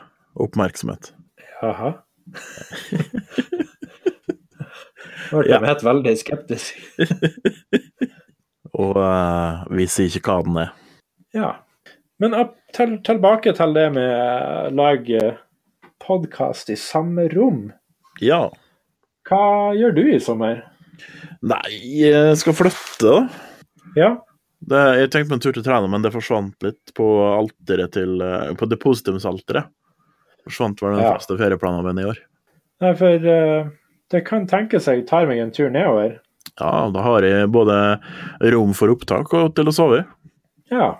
Speaker 2: oppmerksomhet.
Speaker 1: Jaha. Nå ble
Speaker 2: Ja.
Speaker 1: jeg helt veldig skeptisk.
Speaker 2: Og eh, vi sier ikke hva den er.
Speaker 1: Ja. Men opp, til, tilbake til det med eh, lage podkast i samme rom.
Speaker 2: Ja.
Speaker 1: Hva gjør du i sommer?
Speaker 2: Nei, jeg skal flytte, da.
Speaker 1: Ja,
Speaker 2: Det, jeg tenkte på en tur til Træna, men det forsvant litt på alteret til eh, På depositumsalteret. Forsvant vel den
Speaker 1: Ja.
Speaker 2: faste ferieplanen min i år.
Speaker 1: Nei, for eh, det kan tenkes jeg tar meg en tur nedover.
Speaker 2: Ja, da har jeg både rom for opptak og til å sove. i.
Speaker 1: Ja.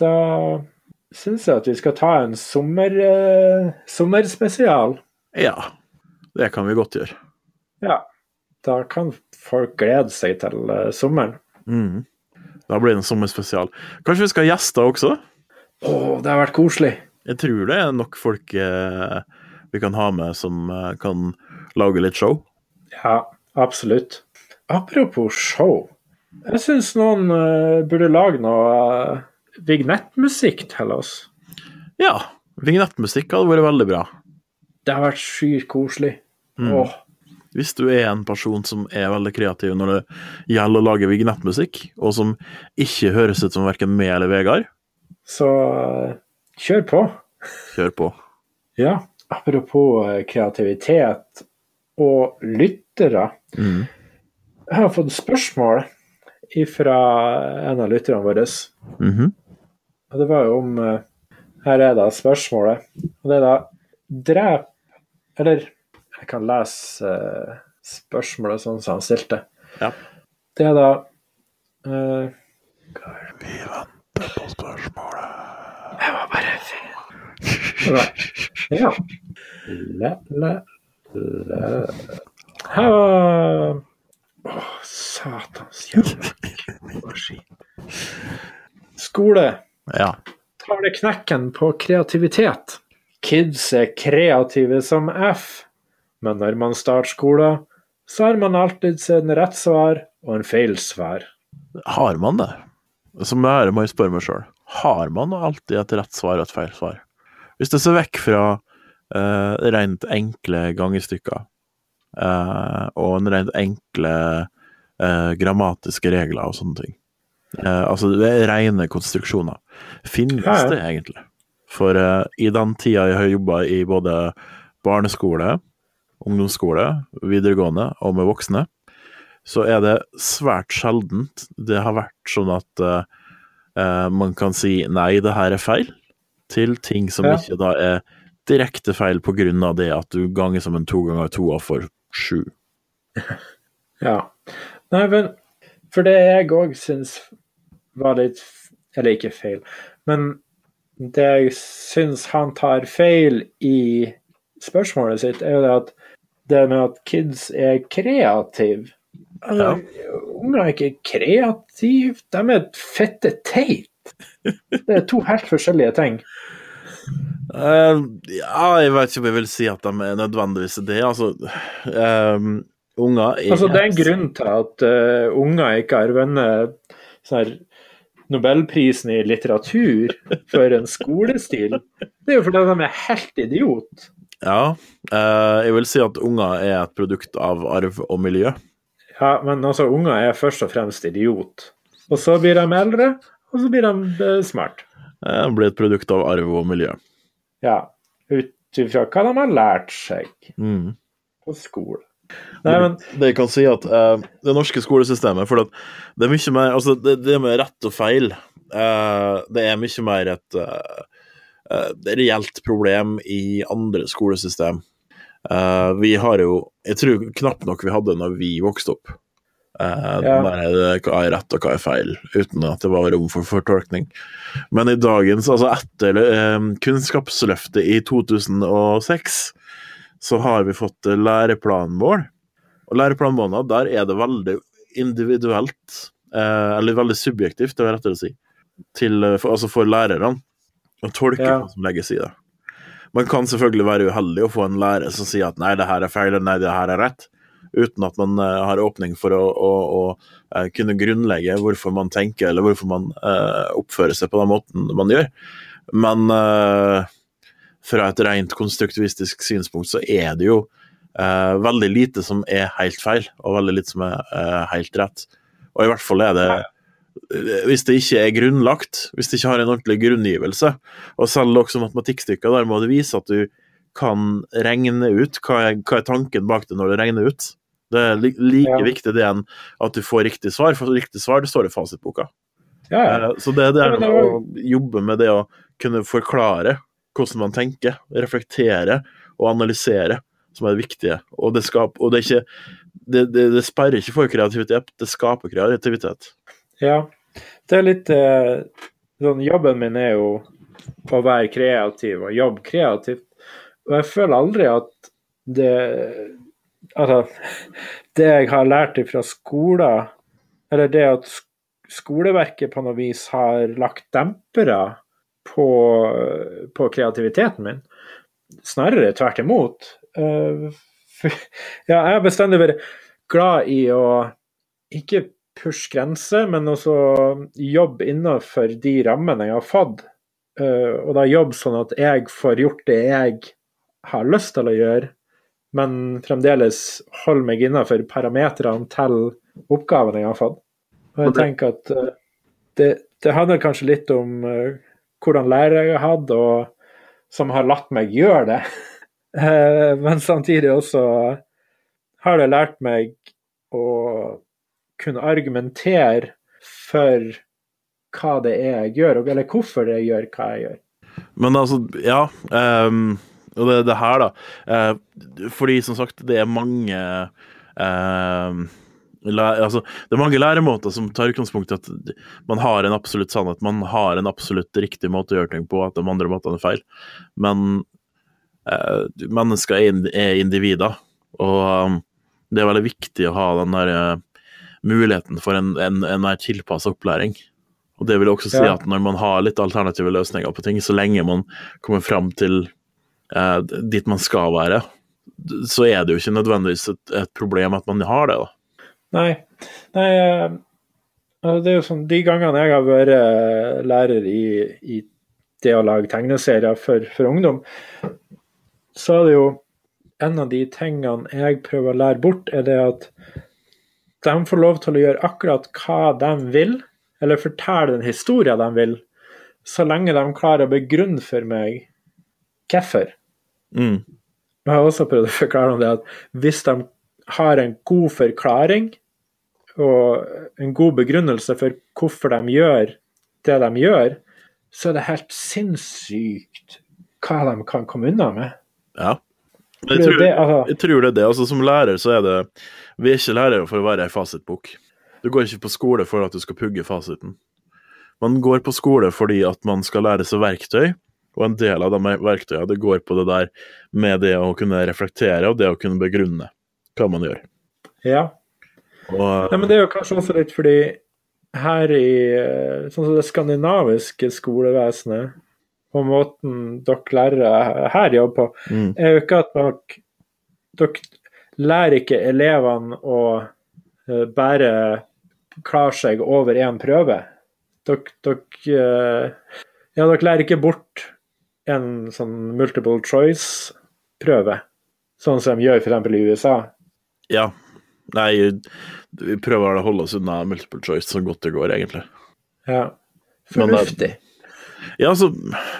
Speaker 1: Da syns jeg at vi skal ta en sommer, eh, sommerspesial.
Speaker 2: Ja, det kan vi godt gjøre.
Speaker 1: Ja. Da kan folk glede seg til eh, sommeren.
Speaker 2: Mm. Da blir det en sommerspesial. Kanskje vi skal ha gjester også?
Speaker 1: Å, det har vært koselig.
Speaker 2: Jeg tror det er nok folk eh, vi kan ha med som eh, kan lage litt show.
Speaker 1: Ja, absolutt. Apropos show. Jeg syns noen eh, burde lage noe eh, vignettmusikk til oss.
Speaker 2: Ja. Vignettmusikk hadde vært veldig bra.
Speaker 1: Det har vært sjukt koselig.
Speaker 2: Mm.
Speaker 1: Åh,
Speaker 2: Hvis du er en person som er veldig kreativ når det gjelder å lage vignettmusikk, og som ikke høres ut som verken meg eller Vegard,
Speaker 1: så eh, kjør på.
Speaker 2: kjør på.
Speaker 1: Ja, apropos eh, kreativitet og lyttere.
Speaker 2: Mm.
Speaker 1: Jeg har fått spørsmål fra en av lytterne våre.
Speaker 2: Mhm.
Speaker 1: Og det var jo om eh, Her er da spørsmålet. Og det er da Drep Eller jeg kan lese eh, spørsmålet sånn som han stilte.
Speaker 2: Ja.
Speaker 1: Det er da eh,
Speaker 2: Vi venter på spørsmålet.
Speaker 1: Jeg var bare Nei. Ja. Le, le, le. Her var Å, satans jævla energi. Skole.
Speaker 2: Ja.
Speaker 1: tar det knekken på kreativitet. Kids er kreative som F, men når man starter skolen, så har man alltid en rett svar og en feil svar.
Speaker 2: Har man det? Som jeg må jeg spørre meg sjøl. Har man alltid et rett svar og et feil svar? Hvis du ser vekk fra eh, rent enkle gangestykker eh, og en rent enkle eh, grammatiske regler og sånne ting. Eh, altså det er rene konstruksjoner. Finnes
Speaker 1: Ja, ja.
Speaker 2: det egentlig? For eh, i den tida jeg har jobba i både barneskole, ungdomsskole, videregående og med voksne, så er det svært sjeldent det har vært sånn at eh, eh, man kan si nei, det her er feil, til ting som
Speaker 1: Ja.
Speaker 2: ikke da er direkte feil på grunn av det at du ganger som en to ganger to og får sju.
Speaker 1: Ja. Nei, men For det jeg òg syns var litt f- Eller ikke feil, men det jeg syns han tar feil i spørsmålet sitt, er jo det at det med at kids er kreative
Speaker 2: Ja.
Speaker 1: Unger er ikke kreative, de er fette teit. Det er to helt forskjellige ting.
Speaker 2: Eh, ja, jeg vet ikke om jeg vil si at de er nødvendigvis det. Altså, eh, unger er
Speaker 1: Altså, det er en grunn til at eh, unger ikke har vunnet sånn her Nobelprisen i litteratur for en skolestil. Det er jo fordi de er helt idiot.
Speaker 2: Ja. eh, jeg vil si at unger er et produkt av arv og miljø.
Speaker 1: Ja, men altså, unger er først og fremst idiot. Og så blir de eldre, og så blir de eh, smart.
Speaker 2: Eh, blir et produkt av arv og miljø.
Speaker 1: Ja, ut ifra hva de har lært seg
Speaker 2: Mm.
Speaker 1: på skole. Nei, men
Speaker 2: Det jeg kan si at eh, det norske skolesystemet For at det er mye mer Altså, det, det med rett og feil eh, Det er mye mer et eh, eh, det er et reelt problem i andre skolesystem. Eh, vi har jo Jeg tror knapt nok vi hadde når vi vokste opp. Eh,
Speaker 1: Ja.
Speaker 2: den der, hva er rett og hva er feil, uten at det var rom for fortolkning. Men i dagens, altså etter eh, Kunnskapsløftet i 2006, så har vi fått eh, læreplanmål. Og læreplanmålene, der er det veldig individuelt, eh, eller veldig subjektivt, det er rettere å si, til, eh, for, altså for lærerne, å tolke
Speaker 1: Ja.
Speaker 2: hva som legges i det. Man kan selvfølgelig være uheldig og få en lærer som sier at nei, det her er feil, eller nei, det her er rett, uten at man eh, har åpning for å, å, å eh, kunne grunnlegge hvorfor man tenker, eller hvorfor man eh, oppfører seg på den måten man gjør. Men eh, fra et rent konstruktivistisk synspunkt så er det jo eh, veldig lite som er helt feil, og veldig lite som er eh, helt rett. Og i hvert fall er det eh, Hvis det ikke er grunnlagt, hvis det ikke har en ordentlig grunngivelse, og selv også matematikkstykker, der må du vise at du kan regne ut hva er, hva er tanken bak det når du regner ut. Det er li like
Speaker 1: Ja.
Speaker 2: viktig det enn at du får riktig svar, for riktig svar det står i fasitboka.
Speaker 1: ja, ja.
Speaker 2: Eh, Så det, det er
Speaker 1: Ja, men det
Speaker 2: noe å
Speaker 1: var-
Speaker 2: jobbe med det å kunne forklare hvordan man tenker, reflektere og analysere, som er det viktige. Og det, skap, og det, er ikke, det, det, det sperrer ikke for kreativitet, det skaper kreativitet.
Speaker 1: Ja, det er litt eh, sånn, Jobben min er jo å være kreativ og jobbe kreativt. Og jeg føler aldri at det Altså, det jeg har lært fra skolen, eller det at sk- skoleverket på noe vis har lagt dempere på, på kreativiteten min. Snarere tvert imot. Eh, for, ja, jeg har bestandig vært glad i å ikke pushe grenser, men også jobbe innenfor de rammene jeg har fått. Eh, og da jobbe sånn at jeg får gjort det jeg har lyst til å gjøre, men fremdeles holde meg innenfor parametrene til oppgavene jeg har fått. Og jeg
Speaker 2: Og det-
Speaker 1: tenker at eh, det, det handler kanskje litt om eh, hvordan lærere jeg har hatt, og som har latt meg gjøre det. Eh, Men samtidig også har det lært meg å kunne argumentere for hva det er jeg gjør, og- eller hvorfor jeg gjør hva jeg gjør.
Speaker 2: Men altså, ja ehm, Og det, det her, da. eh, fordi, som sagt, det er mange ehm, læ- altså, Det er mange læremåter som tar utgangspunkt i at man har en absolutt sannhet, man har en absolutt riktig måte å gjøre ting på, at de andre måtene er feil. Men eh, mennesker er, ind- er individer, og ehm, det er veldig viktig å ha den der eh, muligheten for en, en, en mer tilpassa opplæring. Og det vil også si
Speaker 1: Ja.
Speaker 2: at når man har litt alternative løsninger på ting, så lenge man kommer fram til eh, dit man skal være, så er det jo ikke nødvendigvis et, et problem at man har det. da.
Speaker 1: Nei, nei eh, altså, det er jo sånn, De gangene jeg har vært eh, lærer i, i det å lage tegneserier for, for ungdom, så er det jo en av de tingene jeg prøver å lære bort, er det at de får lov til å gjøre akkurat hva de vil, eller fortelle den historien de vil, så lenge de klarer å begrunne for meg hvorfor.
Speaker 2: Mm.
Speaker 1: Jeg har også prøvd å forklare om det at hvis de har en god forklaring og en god begrunnelse for hvorfor de gjør det de gjør, så er det helt sinnssykt hva de kan komme unna med.
Speaker 2: Ja.
Speaker 1: For det
Speaker 2: Jeg
Speaker 1: er
Speaker 2: tror,
Speaker 1: jo det, altså-
Speaker 2: jeg tror det er det. Altså, som lærer så er det Vi er ikke lærere for å være ei fasitbok. Du går ikke på skole for at du skal pugge fasiten. Man går på skole fordi at man skal lære seg verktøy, og en del av de ver- verktøyene det går på det der med det å kunne reflektere og det å kunne begrunne hva man gjør.
Speaker 1: Ja.
Speaker 2: Og,
Speaker 1: Nei, men det er jo kanskje også litt fordi her i eh, sånn som det skandinaviske skolevesenet, og måten dere lærere her jobber på,
Speaker 2: mm,
Speaker 1: er jo ikke at dere, dere lærer ikke elevene å eh, bare klare seg over én prøve. Dere, dere, eh, ja, dere lærer ikke bort en sånn multiple choice-prøve, sånn som de gjør f.eks. i USA.
Speaker 2: ja. Nei, vi prøver å holde oss unna multiple choice så godt det går, egentlig.
Speaker 1: Ja.
Speaker 2: Men det er-
Speaker 1: Fornuftig.
Speaker 2: Ja, altså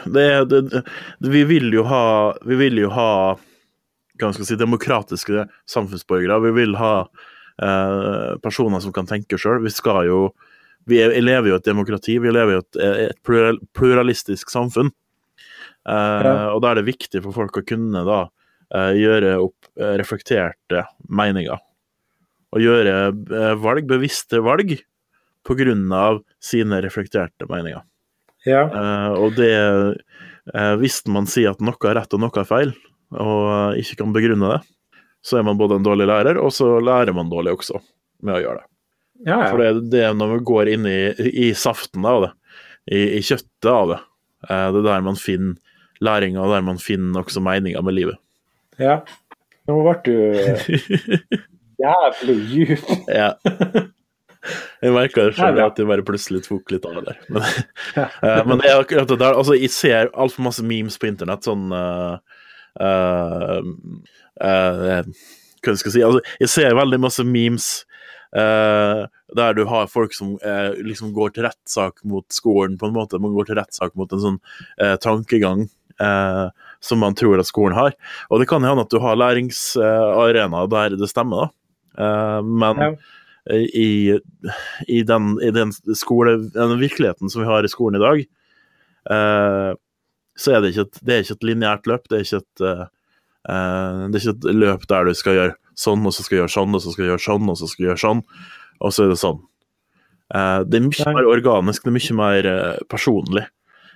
Speaker 2: det, det, det, Vi vil jo ha Vi vil jo ha hva skal jeg si, demokratiske samfunnsborgere. Vi vil ha eh, personer som kan tenke sjøl. Vi skal jo vi er, lever jo i et demokrati, vi lever jo i et, eh, et plural, pluralistisk samfunn. Eh,
Speaker 1: Ja.
Speaker 2: Og da er det viktig for folk å kunne da eh, gjøre opp eh, reflekterte meninger. Og gjøre eh, valg, bevisste valg, på grunn av sine reflekterte meninger.
Speaker 1: Ja.
Speaker 2: Eh, og det eh, Hvis man sier at noe er rett og noe er feil, og eh, ikke kan begrunne det, så er man både en dårlig lærer, og så lærer man dårlig også med å gjøre det.
Speaker 1: ja, ja.
Speaker 2: For det, det er når man går inn i, i saften av det, i, i kjøttet av det, eh, det er der man finner læringa, og der man finner også meninga med livet.
Speaker 1: ja. Nå ble du jævlig djup.
Speaker 2: Ja. Jeg merka det
Speaker 1: Nei,
Speaker 2: sjøl
Speaker 1: bra.
Speaker 2: at jeg bare plutselig tok litt av det der. Men,
Speaker 1: Ja.
Speaker 2: eh, men det er akkurat det der. Altså, jeg ser altfor masse memes på internett, sånn eh, eh, eh, Hva skal jeg si? Altså, jeg ser veldig masse memes eh, der du har folk som eh, liksom går til rettssak mot skolen, på en måte. Man går til rettssak mot en sånn eh, tankegang. eh, som man tror at skolen har. Og det kan hende at du har læringsarenaer der det stemmer, da. Eh, men
Speaker 1: Ja.
Speaker 2: eh, i, i, den, i den, skole, den virkeligheten som vi har i skolen i dag, eh, så er det ikke et, det er ikke et lineært løp. Det er ikke et, eh, eh, det er ikke et løp der du skal gjøre sånn, og så skal du gjøre sånn, og så skal du gjøre sånn, og så skal du gjøre sånn, og så er det sånn. Eh, det er mye
Speaker 1: Nei.
Speaker 2: mer organisk, det er mye mer eh, personlig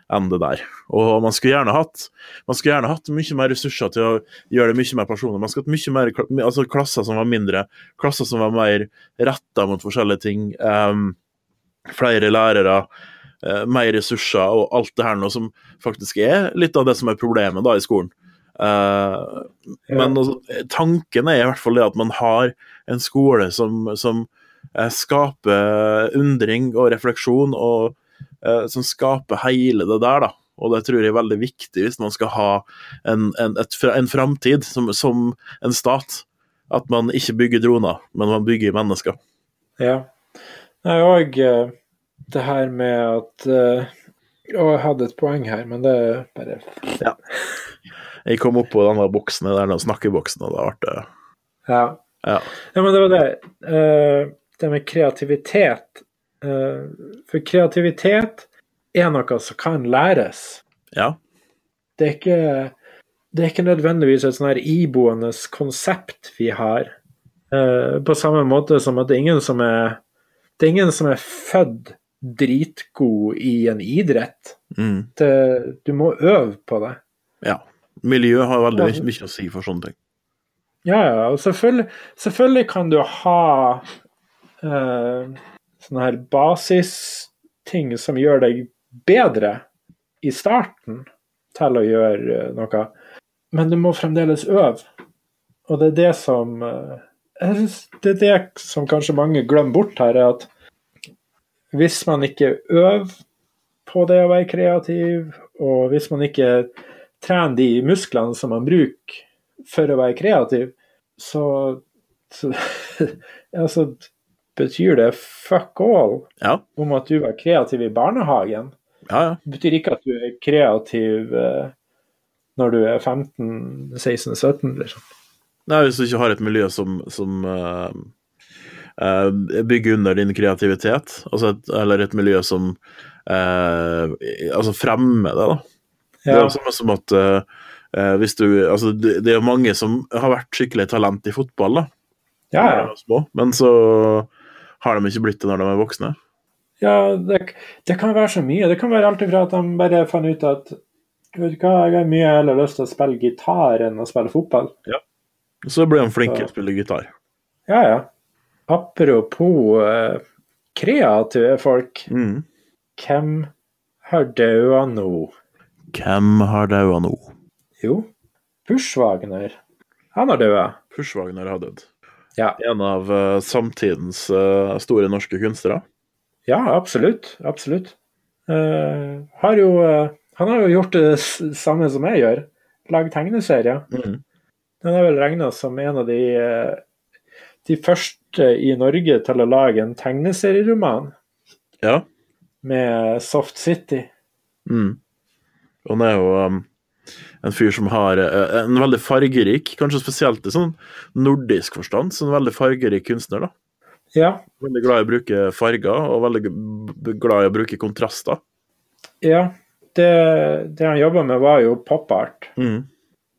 Speaker 2: enn det der. Og man skulle gjerne hatt man skulle gjerne hatt mye mer ressurser til å gjøre det mye mer personlig. Man skulle hatt mye mer kla- altså klasser som var mindre, klasser som var mer retta mot forskjellige ting. ehm, flere lærere, eh, mer ressurser og alt det her nå som faktisk er litt av det som er problemet da i skolen. Eh, men altså, tanken er i hvert fall det at man har en skole som, som eh, skaper undring og refleksjon, og eh, som skaper hele det der, da. Og det tror jeg er veldig viktig hvis man skal ha en, en, et, fra- en framtid som, som en stat. At man ikke bygger droner, men man bygger mennesker.
Speaker 1: Ja. Nei, og eh, det her med at eh, Å, jeg hadde et poeng her, men det er bare
Speaker 2: Jeg kom opp på den der boksen, den der snakkeboksen, og da ble det
Speaker 1: Ja.
Speaker 2: Ja.
Speaker 1: ja men det var det. Eh, det med kreativitet. Eh, for kreativitet er noe som kan læres.
Speaker 2: Ja.
Speaker 1: Det er ikke, det er ikke nødvendigvis et sånn her iboende konsept vi har. Eh, på samme måte som at det er ingen som er Det er ingen som er født dritgod i en idrett.
Speaker 2: Mm.
Speaker 1: det, du må øve på det.
Speaker 2: ja. Miljø har veldig mye- mye å si for sånne ting.
Speaker 1: Ja, ja. Og selvfølgelig, selvfølgelig kan du ha eh, sånne her basisting som gjør deg bedre i starten til å gjøre eh, noe, men du må fremdeles øve. Og det er det som eh, jeg synes Det er det som kanskje mange glemmer bort her, er at hvis man ikke øver på det å være kreativ, og hvis man ikke trener de musklene som man bruker for å være kreativ, så, så ja, så betyr det fuck all
Speaker 2: Ja,
Speaker 1: om at du var kreativ i barnehagen.
Speaker 2: ja, ja.
Speaker 1: Det betyr ikke at du er kreativ eh, når du er 15-16-17, liksom.
Speaker 2: Nei, hvis du ikke har et miljø som, som eh, eh, bygger under din kreativitet, altså et, eller et miljø som eh, altså fremmer det, da. Det er
Speaker 1: Ja,
Speaker 2: jo samme som at eh, eh, hvis du Altså, det, det er jo mange som har vært skikkelig talent i fotball, da.
Speaker 1: ja,
Speaker 2: når
Speaker 1: ja.
Speaker 2: de var Små, men så har de ikke blitt det når de er voksne.
Speaker 1: ja det, det kan være så mye. Det kan være alt ifra at de bare fant ut at vet du hva, jeg har mye heller lyst til å spille gitar enn å spille fotball.
Speaker 2: Så blir de flinke til
Speaker 1: Ja.
Speaker 2: å spille gitar.
Speaker 1: Ja, ja. Apropos eh, kreative folk.
Speaker 2: Mm.
Speaker 1: Hvem har daua nå?
Speaker 2: Hvem har daua nå?
Speaker 1: Jo, Bushwagner. Han har daua.
Speaker 2: Pushwagner har dødd.
Speaker 1: Ja.
Speaker 2: En av eh, samtidens eh, store norske kunstnere.
Speaker 1: Ja, absolutt. Absolutt. Eh, har jo eh, Han har jo gjort det s- samme som jeg gjør. Lagd tegneserier.
Speaker 2: Mm.
Speaker 1: Den er vel regna som en av de eh, de første i Norge til å lage en tegneserieroman
Speaker 2: Ja.
Speaker 1: med Soft City.
Speaker 2: Mm. Han er jo um, en fyr som har eh, en veldig fargerik, kanskje spesielt i sånn nordisk forstand, så en veldig fargerik kunstner. da.
Speaker 1: Ja,
Speaker 2: Veldig glad i å bruke farger, og veldig g- glad i å bruke kontraster.
Speaker 1: ja. Det, det han jobba med, var jo pop-art.
Speaker 2: Mm.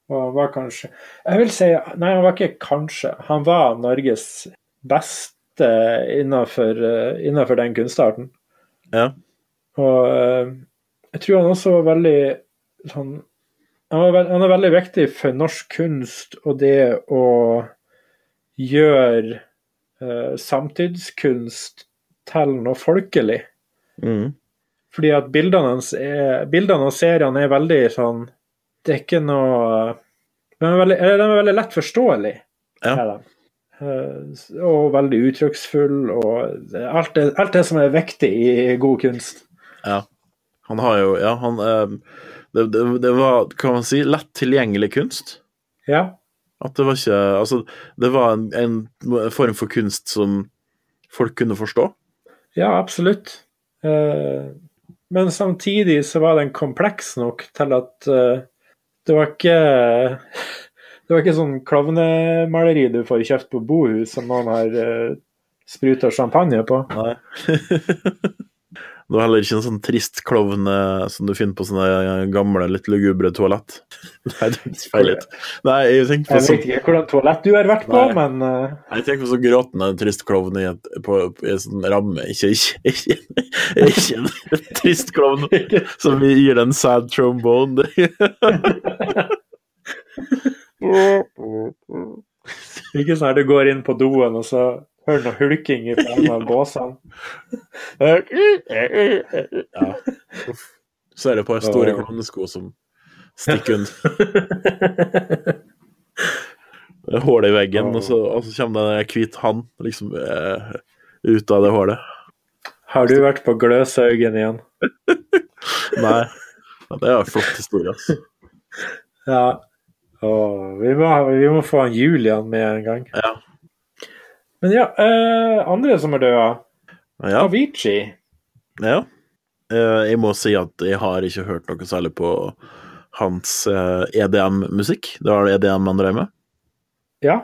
Speaker 1: Og han var kanskje Jeg vil si Nei, han var ikke kanskje. Han var Norges beste innenfor, eh, innenfor den kunstarten.
Speaker 2: Ja.
Speaker 1: Og eh, jeg tror han også var veldig sånn han, var veld, han er veldig viktig for norsk kunst og det å gjøre eh, samtidskunst til noe folkelig.
Speaker 2: Mm.
Speaker 1: Fordi at bildene hans er, bildene og seriene er veldig sånn Det er ikke noe De er veldig, eller de er veldig lett forståelig.
Speaker 2: Ja.
Speaker 1: er de. Eh, Og veldig uttrykksfull og alt det, alt det som er viktig i god kunst.
Speaker 2: ja. Han har jo Ja, han eh, det, det, det var, kan man si, lett tilgjengelig kunst.
Speaker 1: Ja.
Speaker 2: At det var ikke Altså, det var en, en form for kunst som folk kunne forstå.
Speaker 1: Ja, absolutt. Eh, men samtidig så var den kompleks nok til at eh, det var ikke Det var ikke sånn klovnemaleri du får kjøpt på Bohus som noen har uh, spruta champagne på.
Speaker 2: Nei. det var heller ikke en sånn trist klovn eh, som du finner på sånne eh, gamle, litt lugubre toalett. Nei, det er feil litt. Nei, jeg tenker på
Speaker 1: Jeg
Speaker 2: sånn,
Speaker 1: vet ikke hvordan toalett du har vært på,
Speaker 2: Nei.
Speaker 1: men eh,
Speaker 2: jeg tenker på sånn gråtende trist klovn i, et, på, i en sånn ramme. Ikke, ikke, ikke, ikke en trist klovn som gir deg en sad trombone.
Speaker 1: ikke sånn at du går inn på doen, og så Hører noe hulking fra en av båsene.
Speaker 2: Ja. Så er det et par store klovnesko som stikker under. Det er Hull i veggen, og så, og så kommer det en hvit hann liksom, eh, ut av det hullet.
Speaker 1: Har du vært på Gløshaugen igjen?
Speaker 2: Nei, ja, det er en flott historie, altså.
Speaker 1: Ja. Åh, vi, må, vi må få han Julian med en gang.
Speaker 2: Ja.
Speaker 1: Men ja, eh, andre som er døde.
Speaker 2: Ja,
Speaker 1: Avicii.
Speaker 2: ja. Eh, Jeg må si at jeg har ikke hørt noe særlig på hans eh, EDM-musikk. Det var det EDM han drev med.
Speaker 1: Ja.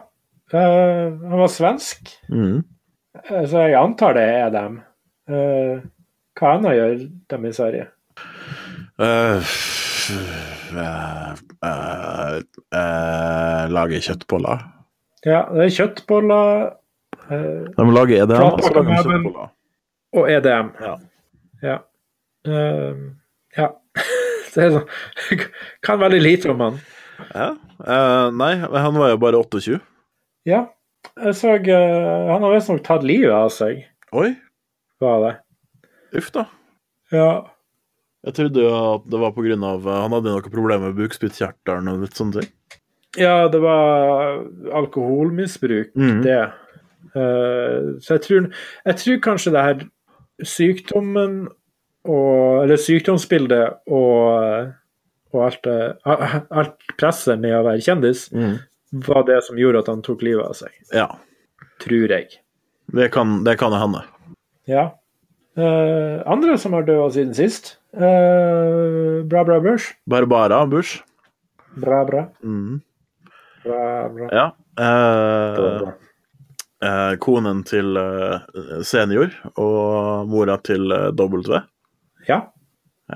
Speaker 1: Eh, han var svensk,
Speaker 2: Mhm.
Speaker 1: eh, så jeg antar det er dem. Eh, hva annet gjør dem i Sverige?
Speaker 2: Eh, eh, eh, eh, Lager kjøttboller.
Speaker 1: Ja, det er kjøttboller eh,
Speaker 2: De lager EDM,
Speaker 1: Klart,
Speaker 2: og så lager de
Speaker 1: men-
Speaker 2: kjøttboller.
Speaker 1: og EDM.
Speaker 2: Ja.
Speaker 1: Ja. Eh, ja. det er sånn Kan veldig lite om han.
Speaker 2: Ja. Eh, nei, men han var jo bare 28.
Speaker 1: Ja. Jeg så eh, Han har visstnok tatt livet av seg,
Speaker 2: Oi,
Speaker 1: var det.
Speaker 2: uff da.
Speaker 1: Ja.
Speaker 2: Jeg trodde jo at det var på grunn av eh, Han hadde noen problemer med bukspyttkjertelen og litt sånne ting.
Speaker 1: ja, det var alkoholmisbruk.
Speaker 2: Mm.
Speaker 1: det. Eh, så jeg tror, jeg tror kanskje det her sykdommen og Eller sykdomsbildet og, og alt, det- alt presset med å være kjendis
Speaker 2: Mm.
Speaker 1: var det som gjorde at han tok livet av seg.
Speaker 2: Ja.
Speaker 1: Tror jeg.
Speaker 2: Det kan det kan hende.
Speaker 1: Ja. Eh, andre som har dødd siden sist eh, Bra, bra, børs.
Speaker 2: Barbara Bush.
Speaker 1: Bra, bra.
Speaker 2: Mm.
Speaker 1: Bra, bra.
Speaker 2: Ja. Eh,
Speaker 1: Bra, bra.
Speaker 2: eh, konen til eh, senior og mora til eh, W.
Speaker 1: Ja.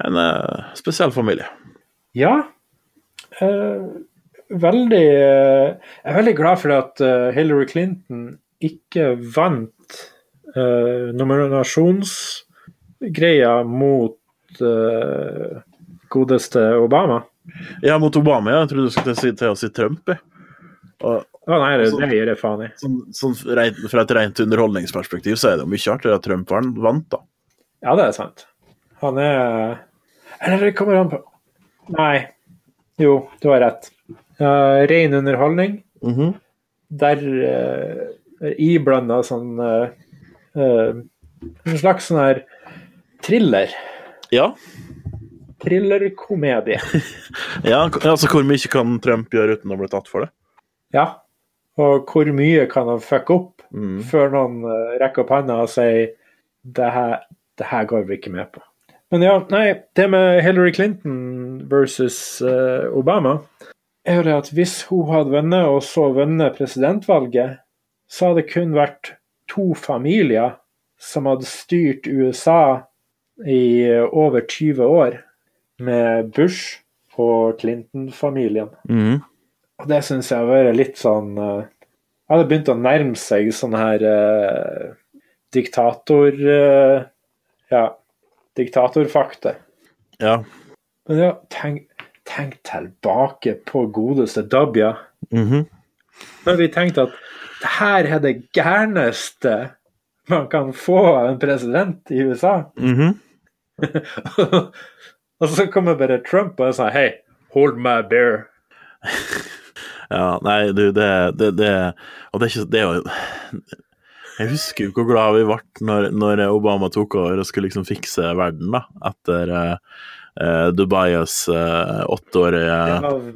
Speaker 2: En eh, spesiell familie.
Speaker 1: Ja. Eh, veldig eh, Jeg er veldig glad for at eh, Hillary Clinton ikke vant eh, nominasjonsgreia mot eh, godeste Obama.
Speaker 2: Ja, mot Obama, ja. Jeg trodde du skulle si, til å si Trump. jeg. Og,
Speaker 1: Å nei, det, det gir jeg faen i.
Speaker 2: sånn, sånn, rent, fra et rent underholdningsperspektiv så er det jo mye artigere at Trump vann- vant, da.
Speaker 1: Ja, det er sant. Han er Eller kommer han på Nei. Jo, du har rett. Uh, Ren underholdning.
Speaker 2: Mhm.
Speaker 1: der uh, iblanda sånn eh, eh, En slags sånn her thriller.
Speaker 2: Ja.
Speaker 1: Thrillerkomedie.
Speaker 2: ja. Altså, hvor mye kan Trump gjøre uten å bli tatt for det?
Speaker 1: Ja. Og hvor mye kan han fucke opp
Speaker 2: Mm.
Speaker 1: før noen eh, rekker opp handa og sier det her, det her går vi ikke med på. Men ja, nei, det med Hillary Clinton versus eh, Obama er jo det at hvis hun hadde vunnet, og så vunnet presidentvalget, så hadde det kun vært to familier som hadde styrt USA i eh, over 20 år, med Bush og Clinton-familien.
Speaker 2: Mhm.
Speaker 1: Og det syns jeg har vært litt sånn eh, Jeg hadde begynt å nærme seg sånn her eh, diktator... eh, ja, diktatorfakta.
Speaker 2: Ja.
Speaker 1: Men ja, tenk, tenk tilbake på godeste Dabja.
Speaker 2: Mhm.
Speaker 1: Når vi tenkte at det her er det gærneste man kan få av en president i USA.
Speaker 2: Mhm.
Speaker 1: og så kommer bare Trump og sier hei, hold my beer.
Speaker 2: Ja, nei, du, det, det, det Og det er ikke det er jo Jeg husker jo hvor glad vi ble når, når Obama tok over og skulle liksom fikse verden, da, etter eh, eh, Dubaias eh,
Speaker 1: Det
Speaker 2: åtteårige
Speaker 1: var-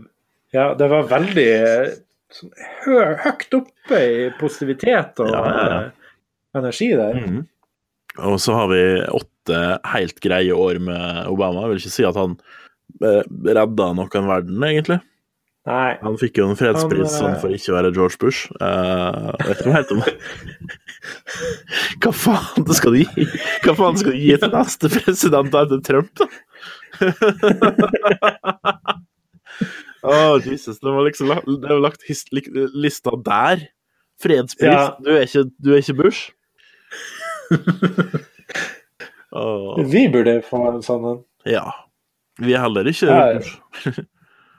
Speaker 1: Ja, det var veldig eh, sånn, hø høyt oppe i positivitet og
Speaker 2: Ja, ja, ja.
Speaker 1: eh, energi der.
Speaker 2: Mhm. Og så har vi åtte helt greie år med Obama. Jeg vil ikke si at han eh, redda noen verden, egentlig.
Speaker 1: Nei.
Speaker 2: Han fikk jo en fredspris
Speaker 1: Han, eh,
Speaker 2: sånn for ikke å være George Bush. Eh, jeg vet ikke helt om Hva faen det skal du gi Hva faen skal du gi til neste president etter Trump, da? Å, Jesus. Det var liksom lagt, det var lagt his, lik- lista der. Fredspris.
Speaker 1: Ja.
Speaker 2: Du, er ikke, du er ikke Bush. Åh,
Speaker 1: Vi burde få en sånn en.
Speaker 2: ja. Vi er heller ikke
Speaker 1: Ja.
Speaker 2: Bush.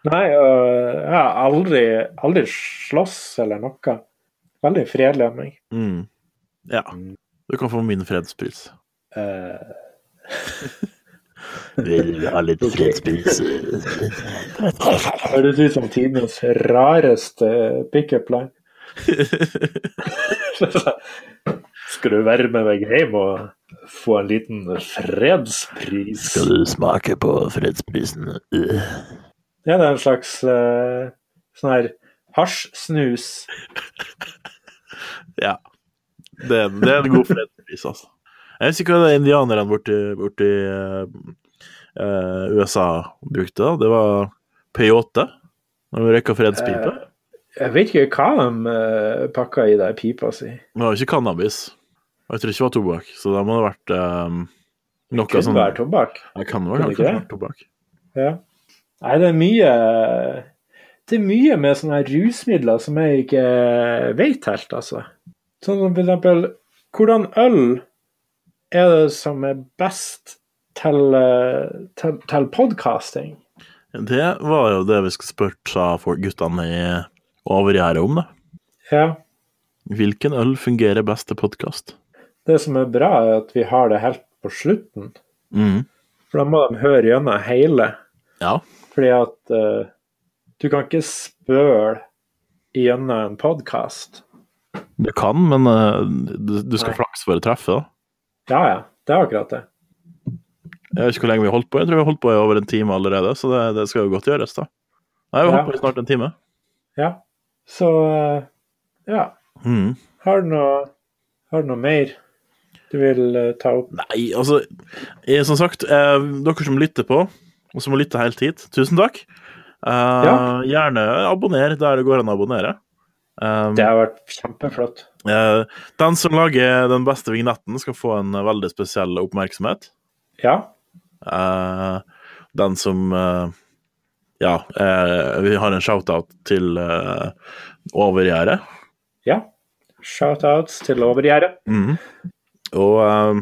Speaker 1: Nei, øh, jeg har aldri, aldri slåss eller noe. Veldig fredelig av meg.
Speaker 2: Mm. Ja. Du kan få min fredspris.
Speaker 1: Eh,
Speaker 2: Vil vi ha litt fredspris?
Speaker 1: Høres ut som tidenes rareste eh, pickup line. Skal du være med meg hjem og få en liten fredspris?
Speaker 2: du smake på fredsprisen?
Speaker 1: Ja, det er en slags eh, sånn her hasjsnus.
Speaker 2: Ja. Det, det er en god fredspris, altså. Jeg husker ikke hva det indianerne borti, borti eh, eh, USA brukte. da. Det var peyote. Når vi røyka fredspipe.
Speaker 1: Eh, Jeg vet ikke hva de eh, pakka i der pipa si.
Speaker 2: Men det var jo ikke cannabis. Og jeg tror ikke det var tobakk. Så da må det ha vært eh, noe
Speaker 1: Kunne
Speaker 2: sånn
Speaker 1: være tobakk.
Speaker 2: Det kan vel
Speaker 1: Kunne
Speaker 2: kanskje
Speaker 1: ikke det?
Speaker 2: ha vært sånn tobakk.
Speaker 1: Ja. Nei, det er mye Det er mye med sånne her rusmidler som jeg ikke vet helt, altså. Sånn som for eksempel Hvordan øl er det som er best til, eh, til, til podkasting?
Speaker 2: Det var jo det vi skulle spurt sa folk- guttene i overgjerdet om, da.
Speaker 1: Ja.
Speaker 2: Hvilken øl fungerer best til podkast?
Speaker 1: Det som er bra, er at vi har det helt på slutten.
Speaker 2: Mm.
Speaker 1: For da må de høre gjennom hele.
Speaker 2: Ja.
Speaker 1: Fordi at eh, du kan ikke spøle gjennom en podkast.
Speaker 2: Du kan, men eh, du, du skal
Speaker 1: Nei.
Speaker 2: flaks for å treffe, da.
Speaker 1: Ja ja, det er akkurat det.
Speaker 2: Jeg vet ikke hvor lenge vi har holdt på. Jeg tror vi har holdt på i over en time allerede, så det, det skal jo godt gjøres, da. Nei, vi har
Speaker 1: Ja.
Speaker 2: holdt på i snart en time.
Speaker 1: Ja. Så eh, ja.
Speaker 2: Mm.
Speaker 1: Har du noe, har du noe mer du vil eh, ta opp?
Speaker 2: Nei, altså jeg, Som sagt, eh, dere som lytter på, og som må lytte helt hit, tusen takk. Eh, Gjerne abonner der det går an å abonnere. Eh,
Speaker 1: Det har vært kjempeflott.
Speaker 2: eh, den som lager den beste vignetten, skal få en eh, veldig spesiell oppmerksomhet.
Speaker 1: Ja.
Speaker 2: Eh, den som eh, Ja, eh, vi har en shout-out til uh, Overgjerdet.
Speaker 1: ja. Shoutouts til overgjerdet.
Speaker 2: Mhm. Og eh,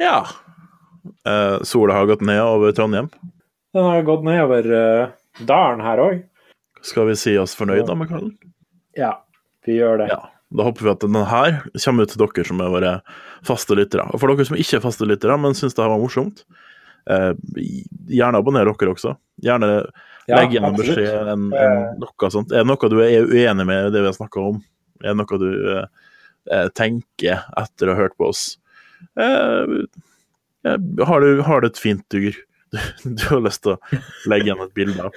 Speaker 2: ja Eh, Sola har gått ned over Trondheim.
Speaker 1: Den har gått nedover eh, dalen her òg.
Speaker 2: Skal vi si oss fornøyd da med kvelden?
Speaker 1: Ja, vi gjør det.
Speaker 2: Ja. Da håper vi at denne her kommer ut til dere som er våre faste lyttere. Og for dere som ikke er faste lyttere, men syns det her var morsomt, eh, gjerne abonner dere også. Gjerne
Speaker 1: Ja,
Speaker 2: legg igjen en
Speaker 1: absolutt.
Speaker 2: beskjed, en, en, noe sånt. Er det noe du er uenig med i det vi har snakka om? Er det noe du eh, eh, tenker etter å ha hørt på oss? Eh, eh, har, du, har du et fint dur du, du har lyst til å legge igjen et bilde av?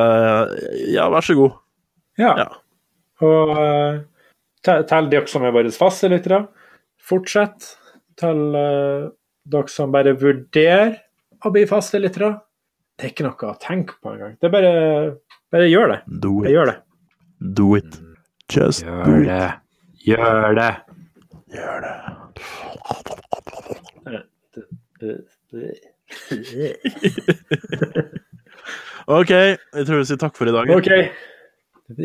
Speaker 2: Eh, ja, vær så god.
Speaker 1: Ja.
Speaker 2: Ja.
Speaker 1: Og eh, te- til dere som er våre faste lyttere, fortsett. Til eh, dere som bare vurderer å bli faste lyttere. Det er ikke noe å tenke på engang. Det er bare, bare gjør det.
Speaker 2: Do
Speaker 1: Jeg gjør det.
Speaker 2: Do it. Just do it.
Speaker 1: Gjør det.
Speaker 2: Gjør det. OK, jeg tror vi sier takk for i dag.
Speaker 1: OK.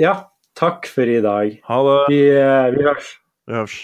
Speaker 1: Ja, takk for i dag.
Speaker 2: Ha det.
Speaker 1: Vi, eh, vi høres.
Speaker 2: Vi høres.